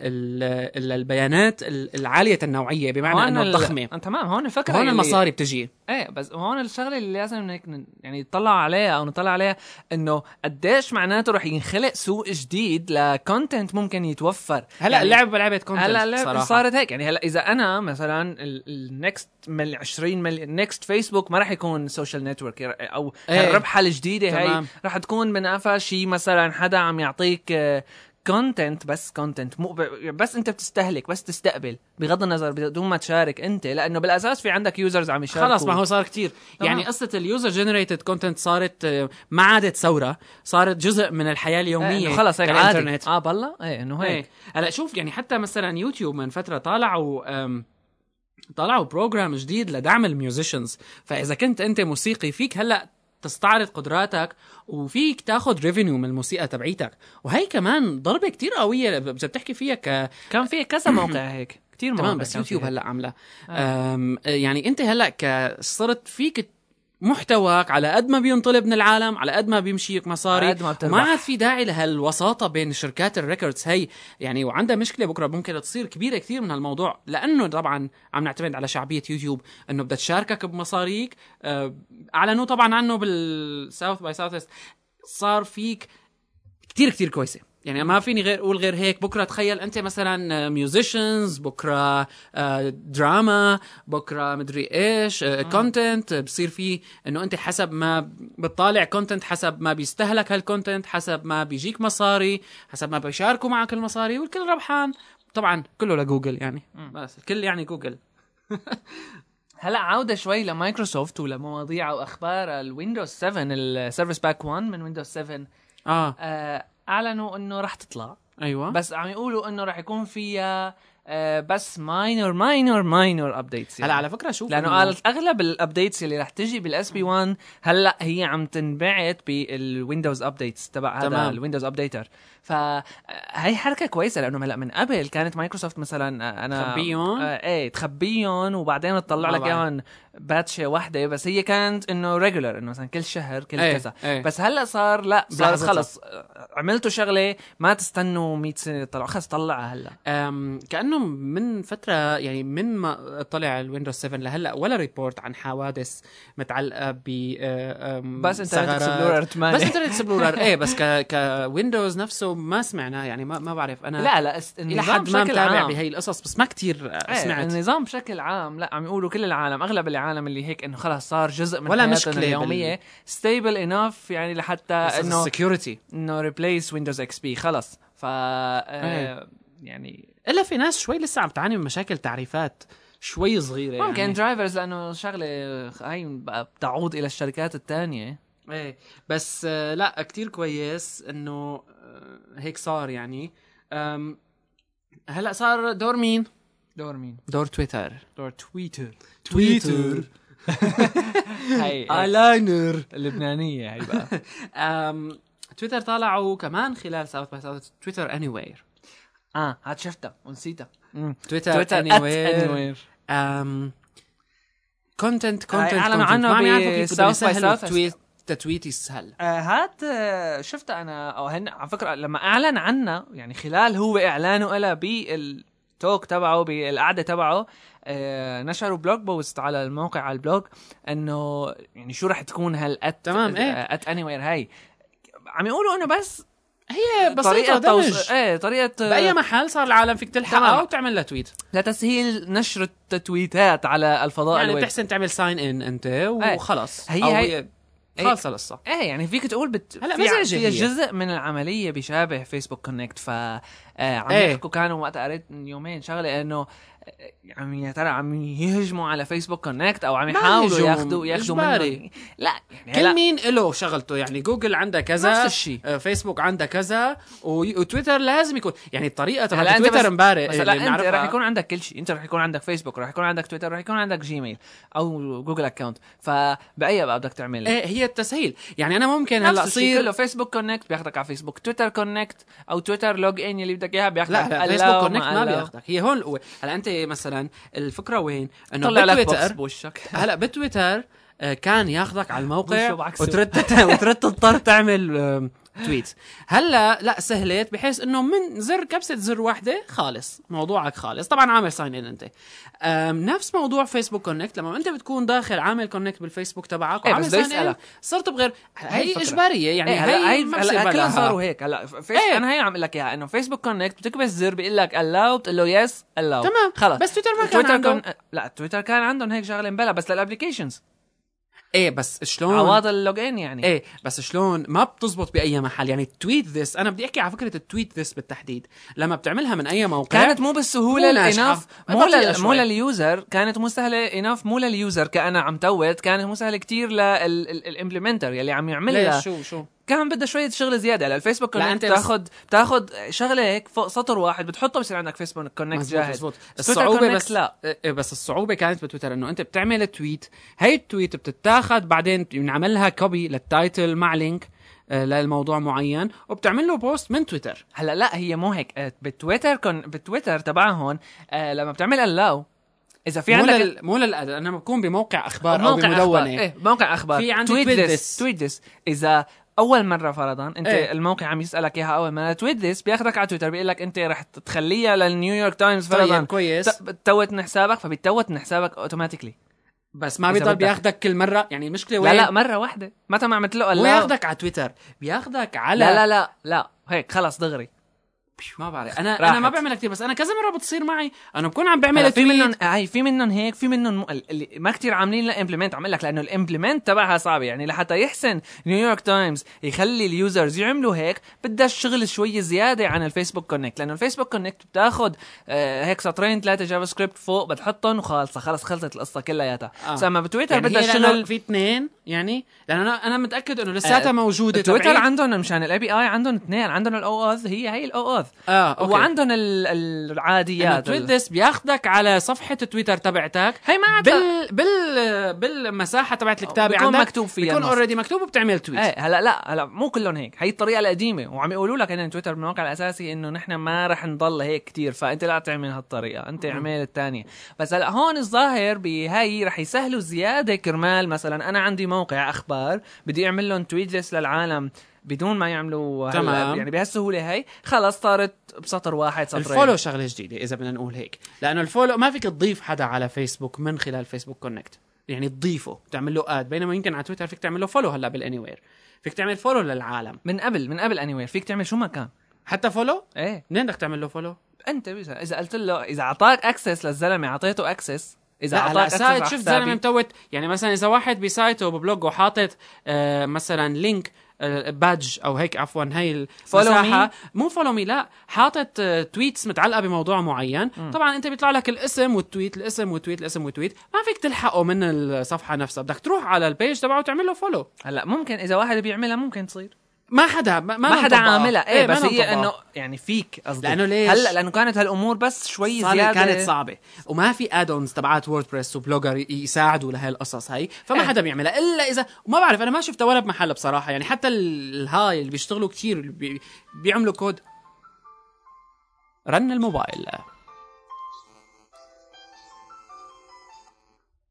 لل- للبيانات ال- العاليه النوعيه بمعنى انه الضخمه
ال... تمام هون الفكره
هون
اللي-
المصاري بتجي
ايه بس هون الشغله اللي لازم هيك ن- يعني نطلع عليها او نطلع عليها انه قديش معناته رح ينخلق سوق جديد لكونتنت ممكن يتوفر
هلا
يعني-
اللعبه لعبه كونتنت
هلا اللعبة
صراحة.
صارت هيك يعني هلا اذا انا مثلا النكست مل 20 مل النكست فيسبوك ما راح يكون سوشيال نتورك او
إيه.
ايه. الربحه الجديده هي
تمام.
راح تكون من قفا شيء مثلا حدا عم يعطيك كونتنت بس كونتنت مو ب- بس انت بتستهلك بس تستقبل بغض النظر بدون ما تشارك انت لانه بالاساس في عندك يوزرز عم يشاركوا
خلص ما هو صار كتير
تمام.
يعني قصه اليوزر جنريتد كونتنت صارت آه، ما عادت ثوره صارت جزء من الحياه اليوميه
إيه، خلص هيك عادي
للإنترنت.
اه بالله ايه انه هيك
هيك هلا شوف يعني حتى مثلا يوتيوب من فتره طالعوا أم، طلعوا بروجرام جديد لدعم الميوزيشنز فاذا كنت انت موسيقي فيك هلا تستعرض قدراتك وفيك تاخذ ريفينيو من الموسيقى تبعيتك وهي كمان ضربه كتير قويه اذا بتحكي فيها ك
كان في كذا <coughs> موقع هيك كتير موقع
تمام بس
كان في
يوتيوب
هيك.
هلا عامله أم، يعني انت هلا ك- صرت فيك محتواك على قد ما بينطلب من العالم على قد ما بيمشيك مصاري
على قد ما بتربح.
وما عاد في داعي لهالوساطه بين شركات الريكوردز هي يعني وعندها مشكله بكره ممكن تصير كبيره كثير من هالموضوع لانه طبعا عم نعتمد على شعبيه يوتيوب انه بدها تشاركك بمصاريك أه، اعلنوا طبعا عنه بالساوث باي ساوث صار فيك كتير كتير كويسه يعني ما فيني غير اقول غير هيك بكره تخيل انت مثلا ميوزيشنز بكره آه، دراما بكره مدري ايش كونتنت بصير في انه انت حسب ما بتطالع كونتنت حسب ما بيستهلك هالكونتنت حسب ما بيجيك مصاري حسب ما بيشاركوا معك المصاري والكل ربحان طبعا كله لجوجل يعني بس الكل يعني جوجل
هلا عودة شوي لمايكروسوفت ولمواضيع واخبار الويندوز 7 السيرفيس باك 1 من ويندوز 7
اه
آه، اعلنوا انه رح تطلع
أه؟
ايوه بس
بس عم يقولوا انه رح يكون فيها آه، بس ماينور ماينور ماينور ابديتس
هلا على فكره شوف
لانه
إنه-
قال اغلب الابديتس اللي رح تجي بالاس بي 1 هلا هي عم تنبعت بالويندوز ابديتس تبع هذا
تمام.
الويندوز ابديتر فهي حركه كويسه لانه هلا من قبل كانت مايكروسوفت مثلا آه، انا
تخبيهم؟
آه، ايه تخبيهم وبعدين تطلع
ما
لك
بعرف.
اياهم باتشه واحده بس هي كانت انه ريجولر انه مثلا كل شهر كل
إيه،
كذا
إيه.
بس هلا صار لا صار
بلحظتها.
خلص آه، عملتوا شغله ما تستنوا 100 سنه تطلعوا خلص طلعها هلا
أم، كانه من فتره يعني من ما طلع الويندوز 7 لهلا ولا ريبورت عن حوادث متعلقه ب أم،
بس انترنت
ثغرات.
اكسبلورر 8
بس انترنت اكسبلورر ايه بس ك كويندوز نفسه ما سمعناه يعني ما ما بعرف انا
لا لا است-
الى
النظام
حد ما
بشكل
متابع
عام.
بهي القصص بس ما كتير
إيه،
سمعت
النظام بشكل عام لا عم يقولوا كل العالم اغلب العالم اللي هيك انه خلص صار جزء من
ولا
حياتنا
مشكلة
اليوميه ستيبل انف يعني لحتى انه
السكيورتي
انه ريبليس ويندوز اكس بي خلص ف آه، يعني
الا في ناس شوي لسه عم تعاني من مشاكل تعريفات شوي صغيره
ممكن
يعني.
درايفرز لانه شغله هاي بقى بتعود الى الشركات الثانيه
ايه بس آه، لا كتير كويس انه آه، هيك صار يعني أم، هلا صار دور مين؟
دور مين؟
دور تويتر
دور تويتر
تويتر
<laughs> هاي
ايلاينر
اللبنانيه هاي بقى
أم، تويتر طلعوا كمان خلال ساوث باي ساوث تويتر اني وير
اه هاد شفتها ونسيتها
تويتر اني وير كونتنت كونتنت
أعلنوا عنه
ما عم يعرفوا
ب
كيف بدهم
South by
يسهلوا
Southwest.
التويت- التتويت يسهل
آه، هات آه، شفتها انا او هن على فكره لما اعلن عنا يعني خلال هو اعلانه لها بالتوك تبعه بالقعده تبعه آه، نشروا بلوج بوست على الموقع على البلوج انه يعني شو رح تكون هالات
تمام، إيه.
ات اني وير هاي عم يقولوا انه بس
هي بسيطه
طريقه
دمج
ايه طريقه آه،
باي محل صار العالم فيك تلحقها
تمام.
وتعمل لها تويت
لتسهيل نشر التتويتات على الفضاء
يعني
الويب
بتحسن تعمل ساين ان انت وخلص
آه، إيه. هي-
أو
هي- إيه.
خالصه القصه
ايه يعني فيك تقول بت...
هلا
في-
مزعجة
في
هي.
جزء من العمليه بيشابه فيسبوك كونكت ف آه، آه عم
إيه.
يحكوا كانوا وقتها قريت من يومين شغله انه آه، عم يا ترى عم يهجموا على فيسبوك كونكت او عم
ما
يحاولوا
هجوم،
ياخذوا ياخذوا منه
إجباري.
لا يعني
كل
هلا
مين له شغلته يعني جوجل عندها كذا
نفس الشيء.
آه، فيسبوك عندها كذا و- وتويتر لازم يكون يعني الطريقه
هلا
تبعت
انت بس-
تويتر امبارح
بس
إيه، اللي
هلا انت رح
بنعرفها-
يكون عندك كل شيء انت رح يكون عندك فيسبوك رح يكون عندك تويتر رح يكون عندك جيميل او جوجل اكونت فبأي بقى بدك تعمل
ايه هي التسهيل يعني انا ممكن هلا
هلا صير
صير
كله فيسبوك كونكت بياخدك على فيسبوك تويتر كونكت او تويتر لوج ان اللي بدك اياها بياخدك
لا لا
قال
فيسبوك
لا وما
كونكت
قال
ما
لا.
بياخذك هي هون القوه هلا انت مثلا الفكره وين انه
طلع لك بوكس
بتويتر
بوشك <laughs>
هلا بتويتر آه، كان ياخذك على الموقع
بوشه بعكسه.
وترد <laughs> وترد تضطر تعمل آم، تويت هلا لا سهلت بحيث انه من زر كبسه زر واحده خالص موضوعك خالص طبعا عامل ساين ان انت آم، نفس موضوع فيسبوك كونكت لما انت بتكون داخل عامل كونكت بالفيسبوك تبعك
إيه،
وعامل
بس بده
sign in،
يسألك.
صرت بغير
هي
هي
الفكرة.
اجباريه يعني
إيه، هلا
هي
هي
ما بصير
هلا
بدها.
كلهم صاروا هيك هلا فيس
إيه.
انا هي عم اقول لك اياها انه فيسبوك كونكت بتكبس زر بيقول لك allow بتقول له يس allow
تمام.
خلص
بس تويتر ما كان
تويتر
عندهم.
لا تويتر كان عندهم هيك شغله مبلا بس للابلكيشنز
ايه بس شلون
عوض اللوج ان يعني
ايه بس شلون ما بتزبط باي محل يعني التويت ذس انا بدي احكي على فكره التويت ذس بالتحديد لما بتعملها من اي موقع
كانت مو بالسهوله
مو ناجحة.
الاناف مو
دقيقة
لل... مو
شوي.
لليوزر كانت مو سهله اناف مو لليوزر كأنا عم توت كانت مو سهله كثير للامبلمنتر يلي عم
ليش
يعملها
شو شو
كان بدها شويه شغل زياده هلا الفيسبوك
لا،
كونكت
أنت بس-
بتاخذ بتاخذ شغله هيك فوق سطر واحد بتحطه بصير عندك فيسبوك كونكت
مزبوط
جاهز
مزبوط
بس تويتر
الصعوبة
كونكت
بس
لا
إيه، بس الصعوبة كانت بتويتر انه انت بتعمل تويت هي التويت بتتاخد بعدين بنعمل لها كوبي للتايتل مع لينك آه، للموضوع معين وبتعمل له بوست من تويتر
هلا لا هي مو هيك آه، بتويتر كون... بتويتر تبعهم آه لما بتعمل اللاو اذا في
مو
عندك
لل... مو للأدب انا بكون بموقع اخبار او
موقع اخبار
بمدونة
ايه موقع اخبار
في عندك
تويت
tweet
ذس
this.
تويت ذس اذا اول مره فرضا انت
إيه.
ايه؟ الموقع عم يسالك اياها اول مره تويت ذس بياخذك على تويتر بيقول لك انت رح تخليها للنيويورك تايمز فرضا
طيب، كويس.
ت- بتتوت من حسابك فبتتوت من حسابك اوتوماتيكلي
بس ما
إذا
بيضل
بدك.
بياخدك كل مرة يعني المشكلة وين
لا لا مره واحده متى ما عملت له
مو
allow.
ياخدك على تويتر بياخدك على
لا لا لا لا هيك خلص دغري
ما بعرف انا
راحت.
انا ما بعملها كثير بس انا كذا مره بتصير معي انا بكون عم بعمل
هلا في
تويت.
منهم هاي في منهم هيك في منهم مو- اللي ما كتير عاملين لها امبلمنت عم أقول لك لانه الامبلمنت تبعها صعب يعني لحتى يحسن نيويورك تايمز يخلي اليوزرز يعملوا هيك بدها الشغل شوي زياده عن الفيسبوك كونكت لانه الفيسبوك كونكت بتاخد آه هيك سطرين ثلاثه جافا سكريبت فوق بتحطهم وخالصه خلص خلصت القصه كلياتها
آه.
بس اما بتويتر
يعني
بدها
هي لأنه
الشغل
في اثنين يعني لانه انا انا متاكد انه لساتها
آه،
موجوده
تويتر
تبعيد.
عندهم مشان الاي بي اي عندهم اثنين عندهم الاو اوث هي هي الاو اوث
اه اوكي وعند
وعندهم ال- العاديات
تويت ذس بياخذك على صفحه تويتر تبعتك
هي ما عاد
بال بال بالمساحه تبعت الكتابه
بيكون
عندك
مكتوب فيها
بيكون
النص.
اوريدي مكتوب وبتعمل تويت
ايه هلا لا هلا مو كلهم هيك هي الطريقه القديمه وعم يقولوا لك ان تويتر بالموقع الاساسي انه نحن ما رح نضل هيك كتير فانت لا تعمل هالطريقه انت اعمل الثانيه بس هلا هون الظاهر بهاي رح يسهلوا زياده كرمال مثلا انا عندي موقع اخبار بدي اعمل لهم تويت ليست للعالم بدون ما يعملوا هلا
تمام.
يعني بهالسهوله هي خلص صارت بسطر واحد سطرين
الفولو شغله جديده اذا بدنا نقول هيك لانه الفولو ما فيك تضيف حدا على فيسبوك من خلال فيسبوك كونكت يعني تضيفه تعمل له اد بينما يمكن على تويتر فيك تعمل له فولو هلا بالاني وير فيك تعمل فولو للعالم
من قبل من قبل اني فيك تعمل شو ما كان
حتى فولو
ايه
منين بدك تعمل له فولو
انت بس- اذا قلت له اذا اعطاك اكسس للزلمه اعطيته اكسس اذا
لا هلا
اعطاك
سايت
اكسس
شفت زلمه متوت يعني مثلا اذا واحد بسايته وببلوجه حاطط آه مثلا لينك آه، بادج او هيك عفوا هي المساحه مو فولو مي لا حاطط آه، تويتس متعلقه بموضوع معين طبعا انت بيطلع لك الاسم والتويت الاسم والتويت الاسم والتويت ما فيك تلحقه من الصفحه نفسها بدك تروح على البيج تبعه وتعمل له فولو
هلا ممكن اذا واحد بيعملها ممكن تصير
ما حدا ما,
ما,
ما
حدا
مطبقها.
عاملها ايه,
ما
بس هي
مطبقها.
انه يعني فيك قصدي
لأنه ليش؟
هلا لانه كانت هالامور بس شوي
صارت
زياده
كانت صعبه وما في ادونز تبعات ووردبريس وبلوجر ي- يساعدوا لهي القصص هي فما
إيه.
حدا بيعملها الا اذا وما بعرف انا ما شفتها ولا بمحل بصراحه يعني حتى ال- الهاي اللي بيشتغلوا كتير اللي بي بيعملوا كود رن الموبايل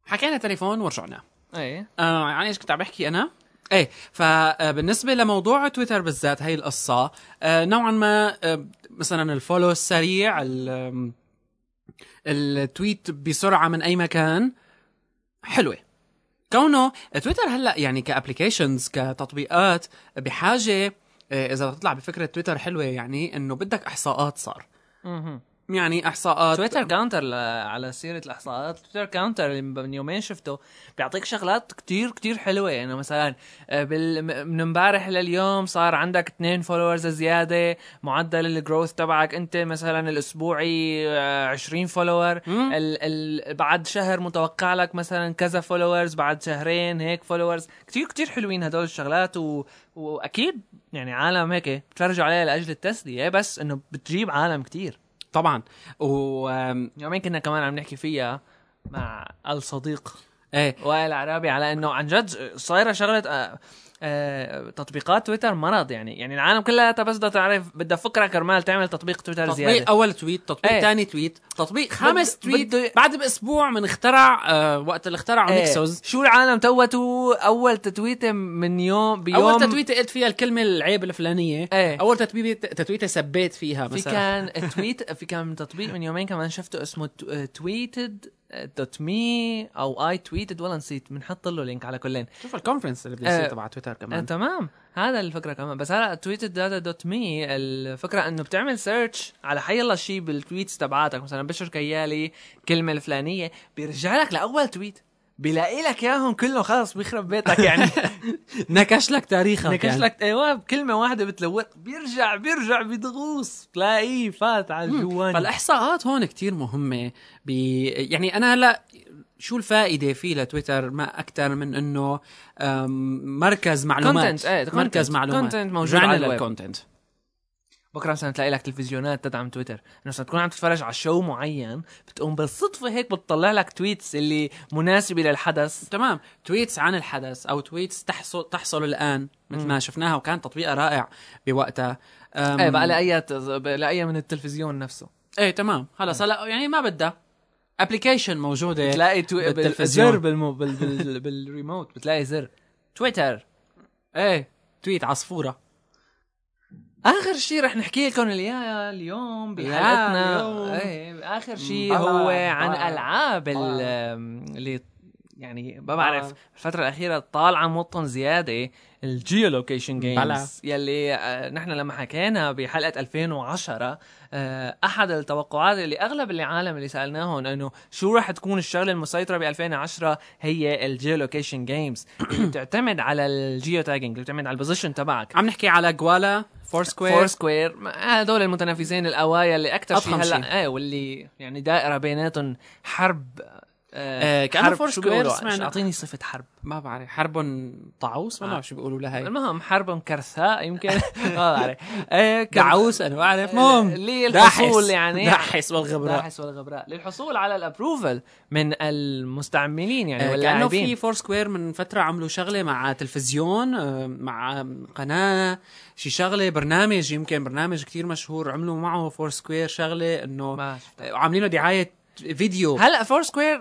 حكينا تليفون ورجعنا
ايه
آه يعني ايش كنت عم بحكي انا؟ ايه فبالنسبة لموضوع تويتر بالذات هاي القصة آه، نوعا ما آه، مثلا الفولو السريع ال- آم، التويت بسرعة من أي مكان حلوة كونه تويتر هلا يعني كابلكيشنز كتطبيقات بحاجة آه، إذا تطلع بفكرة تويتر حلوة يعني إنه بدك إحصاءات صار يعني احصاءات
تويتر كاونتر ل... على سيره الاحصاءات تويتر كاونتر اللي من يومين شفته بيعطيك شغلات كتير كتير حلوه يعني مثلا آه، بال... م- من امبارح لليوم صار عندك اثنين فولورز زياده معدل الجروث تبعك انت مثلا الاسبوعي آه، 20 فولور
مم.
ال... ال... بعد شهر متوقع لك مثلا كذا فولورز بعد شهرين هيك فولورز كتير كتير حلوين هدول الشغلات و... واكيد يعني عالم هيك بتفرجوا عليها لاجل التسليه بس انه بتجيب عالم كتير
طبعا و آم،
يومين كنا كمان عم نحكي فيها مع الصديق
ايه
وائل عرابي على انه عن جد صايره شغله آه، آه، تطبيقات تويتر مرض يعني يعني العالم كلها بس بدها تعرف بدها فكره كرمال تعمل تطبيق تويتر
تطبيق
زياده
اول تويت تطبيق
إيه.
ثاني تويت تطبيق خامس
بد-
تويت
بده-
بعد باسبوع من اخترع آه وقت اللي اخترعوا
إيه،
نيكسوس
شو العالم توتوا اول تتويته من يوم بيوم
اول تتويته قلت فيها الكلمه العيب الفلانيه
إيه.
اول تتويته تتويته سبيت فيها
في
مثلا
<laughs> كان تويت في كان تطبيق من يومين كمان شفته اسمه آه، تويتد دوت مي او اي تويتد والله نسيت بنحط له لينك على كلين
شوف الكونفرنس اللي بده يصير
إيه.
تبع تويتر
آه،
كمان
تمام هذا الفكره كمان بس هلا تويت داتا دوت مي الفكره انه بتعمل سيرش على حي الله شيء بالتويتس تبعاتك مثلا بشر كيالي كلمه الفلانيه بيرجع لك لاول تويت بيلاقي لك اياهم كله خلص بيخرب بيتك يعني <laughs>
نكش لك تاريخك
نكش
يعني.
لك ايوه بكلمه واحده بتلوق بيرجع بيرجع بيدغوص بتلاقيه فات على الجوان
فالاحصاءات هون كتير مهمه ب... يعني انا هلا شو الفائده فيه لتويتر ما اكثر من انه أم، مركز معلومات
Content، إيه، content.
مركز معلومات
Content موجود على الويب.
الكونتنت
بكره مثلا تلاقي لك تلفزيونات تدعم تويتر انه مثلا تكون عم تتفرج على شو معين بتقوم بالصدفه هيك بتطلع لك تويتس اللي مناسبه للحدث
تمام تويتس عن الحدث او تويتس تحصل تحصل الان مثل ما شفناها وكان تطبيقها رائع بوقتها أم،
ايه بقى لأي لأي من التلفزيون نفسه
ايه تمام خلص هلا يعني ما بدها ابلكيشن موجوده
بتلاقي تو...
بالتلفزيون.
بالتلفزيون بالمو... بال... بال... <laughs> بالريموت بتلاقي زر تويتر إيه،
ايه تويت عصفوره
اخر شيء رح نحكي لكم اياه اليوم
لا،
بحلقتنا
اليوم.
ايه اخر شيء
بلا،
هو
بلا.
عن العاب ال- اللي يعني ما بعرف الفتره الاخيره طالعه موطن زياده الجيو لوكيشن
بلا.
جيمز يلي آه، نحن لما حكينا بحلقه 2010 آه، احد التوقعات اللي اغلب العالم اللي سالناهم انه شو راح تكون الشغله المسيطره ب 2010 هي الجيو لوكيشن جيمز <clears throat> اللي بتعتمد على الجيو تاجنج اللي بتعتمد على البوزيشن تبعك
عم نحكي على جوالا فور سكوير
فور سكوير ما- آه، هدول المتنافسين الاوايا اللي اكثر شيء
أضخم شيء.
هلا ايه واللي يعني دائره بيناتهم حرب
آه، كأنه
حرب
فور
شو
سكوير
بيقولوا؟
سمعنا.
اعطيني صفه حرب
ما بعرف حرب طاووس ما بعرف شو بيقولوا لهي
المهم حرب كرثاء
<laughs>
يمكن آه، ما بعرف ايه كان-
دعوس انا بعرف مهم
للحصول يعني
داحس والغبراء
داحس والغبراء للحصول على الابروفل من المستعملين يعني
آه، كانه في
واللاعبين
فور سكوير من فتره عملوا شغله مع تلفزيون آه، مع قناه شي شغله برنامج يمكن برنامج كتير مشهور عملوا معه فور سكوير شغله انه
ما شفت.
آه، عاملين له دعايه فيديو
هلا فور سكوير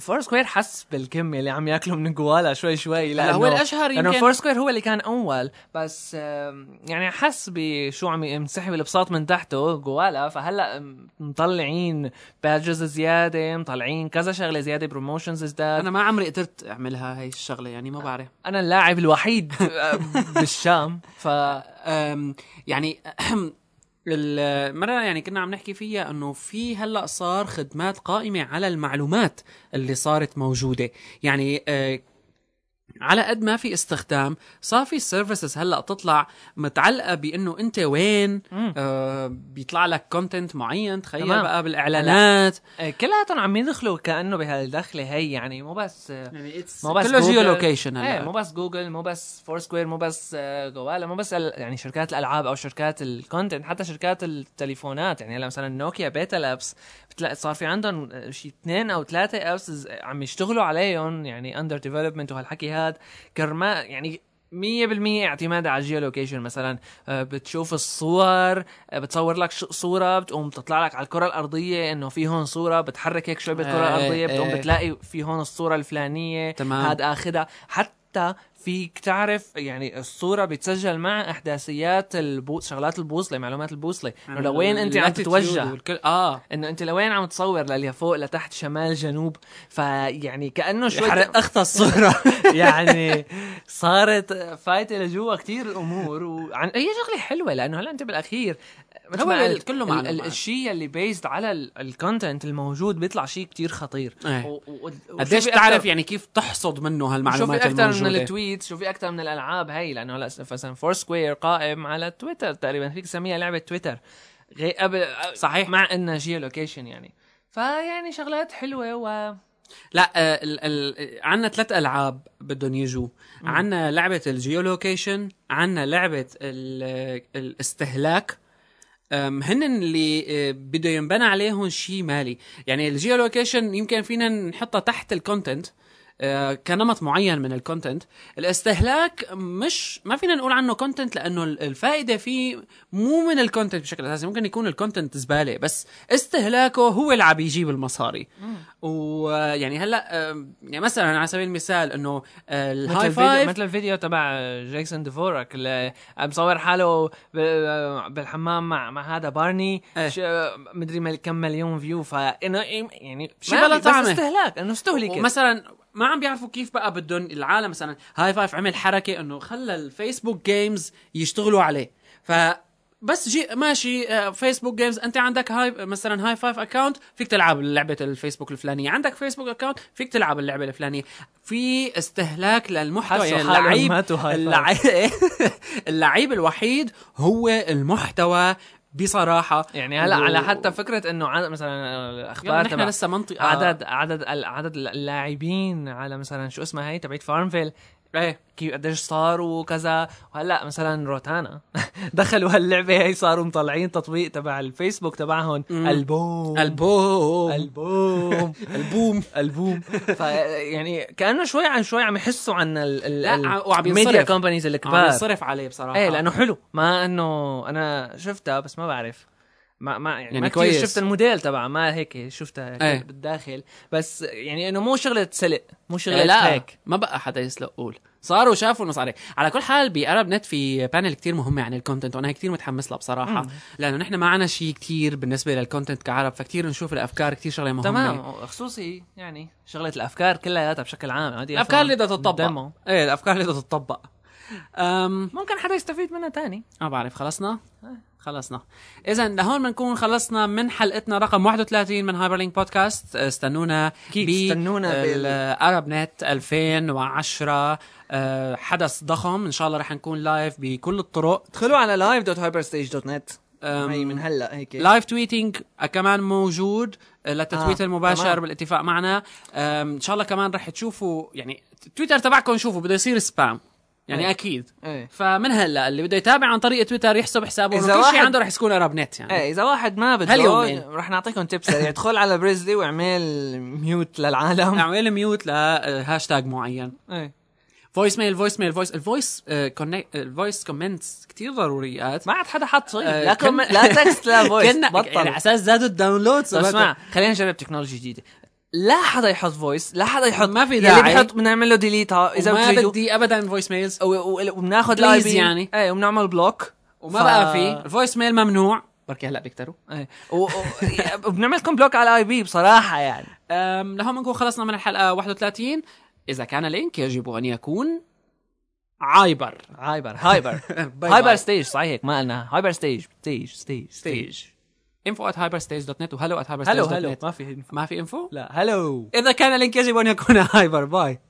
فور سكوير حس بالكم اللي عم ياكلوا من جوالا شوي شوي لانه
هو الأشهر
لانه
يمكن.
فور سكوير هو اللي كان اول بس آم، يعني حس بشو عم ينسحب البساط من تحته جوالا فهلا م- مطلعين باجز زياده مطلعين كذا شغله زياده بروموشنز ازداد
انا ما عمري قدرت اعملها هاي الشغله يعني ما بعرف
انا اللاعب الوحيد آه،
<laughs>
بالشام ف
أم، يعني <clears throat> المرة يعني كنا عم نحكي فيها انه في هلا صار خدمات قائمة على المعلومات اللي صارت موجودة، يعني آه، على قد ما في استخدام صار في سيرفيسز هلا تطلع متعلقة بانه انت وين آه، بيطلع لك كونتنت معين تخيل
تمام.
بقى بالاعلانات
آه، كلياتهم عم يدخلوا كانه بهالدخله هي يعني مو بس آه،
يعني
مو بس
كله
جوجل.
جيو لوكيشن
ايه مو
هلا
بس جوجل مو بس فور سكوير مو بس آه، جوالا مو بس ال- يعني شركات الالعاب او شركات الكونتنت حتى شركات التليفونات يعني هلا مثلا نوكيا بيتا لابس بتلاقي صار في عندهم آه، شي اثنين او ثلاثه ابس عم يشتغلوا عليهم يعني اندر ديفلوبمنت وهالحكي هاد كرما يعني 100% اعتماد على الجيو لوكيشن مثلا آه، بتشوف الصور آه، بتصور لك ش- صوره بتقوم تطلع لك على الكره الارضيه انه في هون صوره بتحرك هيك شوي بالكره
آه،
الارضيه بتقوم
آه.
بتلاقي في هون الصوره الفلانيه
تمام.
هاد اخدها حتى فيك تعرف يعني الصوره بتسجل مع احداثيات البو... شغلات البوصله معلومات البوصله
يعني
انه لوين انت عم
الاتيتيود
تتوجه
والكل اه
انه انت لوين عم تصور لفوق لتحت شمال جنوب فيعني كانه شوي
حرق اخطى الصوره
<laughs> يعني صارت فايته لجوا كتير الامور وعن هي شغله حلوه لانه هلا انت بالاخير مثل
هو
ما
ال-
قلت،
كله
ال-
معلومات.
ال- الشيء اللي بيزد على الكونتنت الموجود بيطلع شيء كتير خطير
إيه.
و- و- و-
قديش
وشو في
تعرف
أكتر-
يعني كيف تحصد منه
شو في
هالمعلومات
اكثر من
الموجودة.
التويت شو في اكثر من الالعاب هي لانه هلا مثلا فور سكوير قائم على تويتر تقريبا فيك تسميها لعبه تويتر غي قبل صحيح مع انها جيو لوكيشن يعني فيعني شغلات حلوه و
لا آه، ال ال عندنا ثلاث العاب بدهم يجوا عندنا لعبه الجيولوكيشن عندنا لعبه ال- الاستهلاك أم، هن اللي آه، بده ينبنى عليهم شيء مالي يعني الجيولوكيشن يمكن فينا نحطها تحت الكونتنت آه، كنمط معين من الكونتنت الاستهلاك مش ما فينا نقول عنه كونتنت لانه ال- الفائده فيه مو من الكونتنت بشكل اساسي ممكن يكون الكونتنت زباله بس استهلاكه هو اللي عم يجيب المصاري ويعني هلا آم، يعني مثلا على سبيل المثال انه آه،
مثل
الهاي
الفيديو
فايف
مثل الفيديو تبع جاكسون ديفورك اللي مصور حاله ب- آه، بالحمام مع مع هذا بارني
إيه.
ش- مدري مل- كم مليون فيو فانه يعني
شي
ما
بلا
في، بس
طعمة.
استهلاك انه استهلكت
ومثلا ما عم بيعرفوا كيف بقى بدهم العالم مثلا هاي فايف عمل حركه انه خلى الفيسبوك جيمز يشتغلوا عليه ف بس جي ماشي آه، فيسبوك جيمز انت عندك هاي مثلا هاي فايف اكونت فيك تلعب لعبه الفيسبوك الفلانيه عندك فيسبوك اكونت فيك تلعب اللعبه الفلانيه في استهلاك للمحتوى
حسوا
يعني
حالهم
اللعيب
ماتوا هاي فايف.
اللعيب <laughs> اللعيب الوحيد هو المحتوى بصراحه
يعني هلا
و-
على حتى فكره انه عد- مثلا
يلا
الاخبار
نحن
تبع آه.
لسه آه. منطقه
عدد عدد ال- عدد اللاعبين على مثلا شو اسمها هي تبعت فارمفيل
ايه
كيف قديش صار وكذا وهلا مثلا روتانا <laughs> دخلوا هاللعبه هي صاروا مطلعين تطبيق تبع الفيسبوك تبعهم البوم
البوم
البوم
<laughs> البوم
البوم فيعني كانه يعني شوي عن شوي عم يحسوا عن ال ال
لا،
ال-
ع- وعم ينصرف.
media companies
عم آه.
الكبار
ينصرف عليه بصراحه
ايه لانه حلو ما انه انا شفتها بس ما بعرف ما ما يعني,
يعني
ما
كويس.
كويس شفت الموديل تبعها ما هيك شفتها هيك
إيه.
بالداخل بس يعني انه مو شغله سلق مو شغله
إيه، لا
هيك
ما بقى حدا يسلق قول صاروا شافوا انه صار هيك. على كل حال بأرب نت في بانل كتير مهمه عن الكونتنت وانا كتير متحمس لها بصراحه لانه نحن ما عنا شيء كتير بالنسبه للكونتنت كعرب فكتير نشوف الافكار كتير شغله مهمه
تمام خصوصي يعني شغله الافكار كلياتها بشكل عام هذه
الافكار اللي
أصلاً
بدها تتطبق
demo.
ايه الافكار اللي بدها تتطبق أم
ممكن حدا يستفيد منها تاني
ما بعرف خلصنا؟ خلصنا اذا لهون بنكون خلصنا من حلقتنا رقم 31 من هايبر لينك بودكاست استنونا
أكيد، استنونا بال-
بالعرب آه، نت 2010 آه، حدث ضخم ان شاء الله رح نكون لايف بكل الطرق
ادخلوا على live.hyperstage.net
أم،
هي من هلا هيك
لايف تويتينج كمان موجود آه، للتتويت
آه،
المباشر
تمام.
بالاتفاق معنا آم، ان شاء الله كمان رح تشوفوا يعني تويتر تبعكم شوفوا بده يصير سبام يعني
إيه.
اكيد
إيه.
فمن هلا اللي بده يتابع عن طريق تويتر يحسب حسابه
إذا
انه كل شيء
واحد-
عنده رح يكون قرب نت <laughs> يعني
ايه اذا واحد ما بده
هاليومين.
رح نعطيكم تيب سريع ادخل على بريزلي واعمل ميوت للعالم
اعمل ميوت لهاشتاج آه، معين
ايه
فويس ميل فويس ميل فويس الفويس الفويس كومنتس كثير ضروريات
ما عاد حدا حط شيء
آه،
لا
كن-
كومنت لا تكست <laughs> لا فويس
كنا
بطل
يعني على اساس زادوا الداونلود
طب اسمع خلينا نجرب تكنولوجيا جديده لا حدا يحط فويس لا حدا يحط
ما في
اللي
داعي.
بيحط آه، بنعمل له ديليت اذا
اذا ما
بتريدوا
بدي ابدا فويس ميلز
و- و- وبناخذ
Please
الاي بي
يعني.
ايه وبنعمل بلوك
وما بقى في الفويس ميل ممنوع بركي هلا بيكتروا
ايه و- و- <laughs> وبنعملكم بلوك على الاي بي بصراحه يعني
أم، لهون بنكون خلصنا من الحلقه 31 اذا كان لينك يجب ان يكون عايبر
هايبر هايبر <laughs>
باي
هايبر
باي.
ستيج صحيح هيك ما قلنا هايبر ستيج ستيج ستيج
ستيج info at hyperstage.net وهلو at hyperstage.net
هلو هلو ما في
ما في info؟
لا هلو
إذا كان لينك يجب أن يكون هايبر باي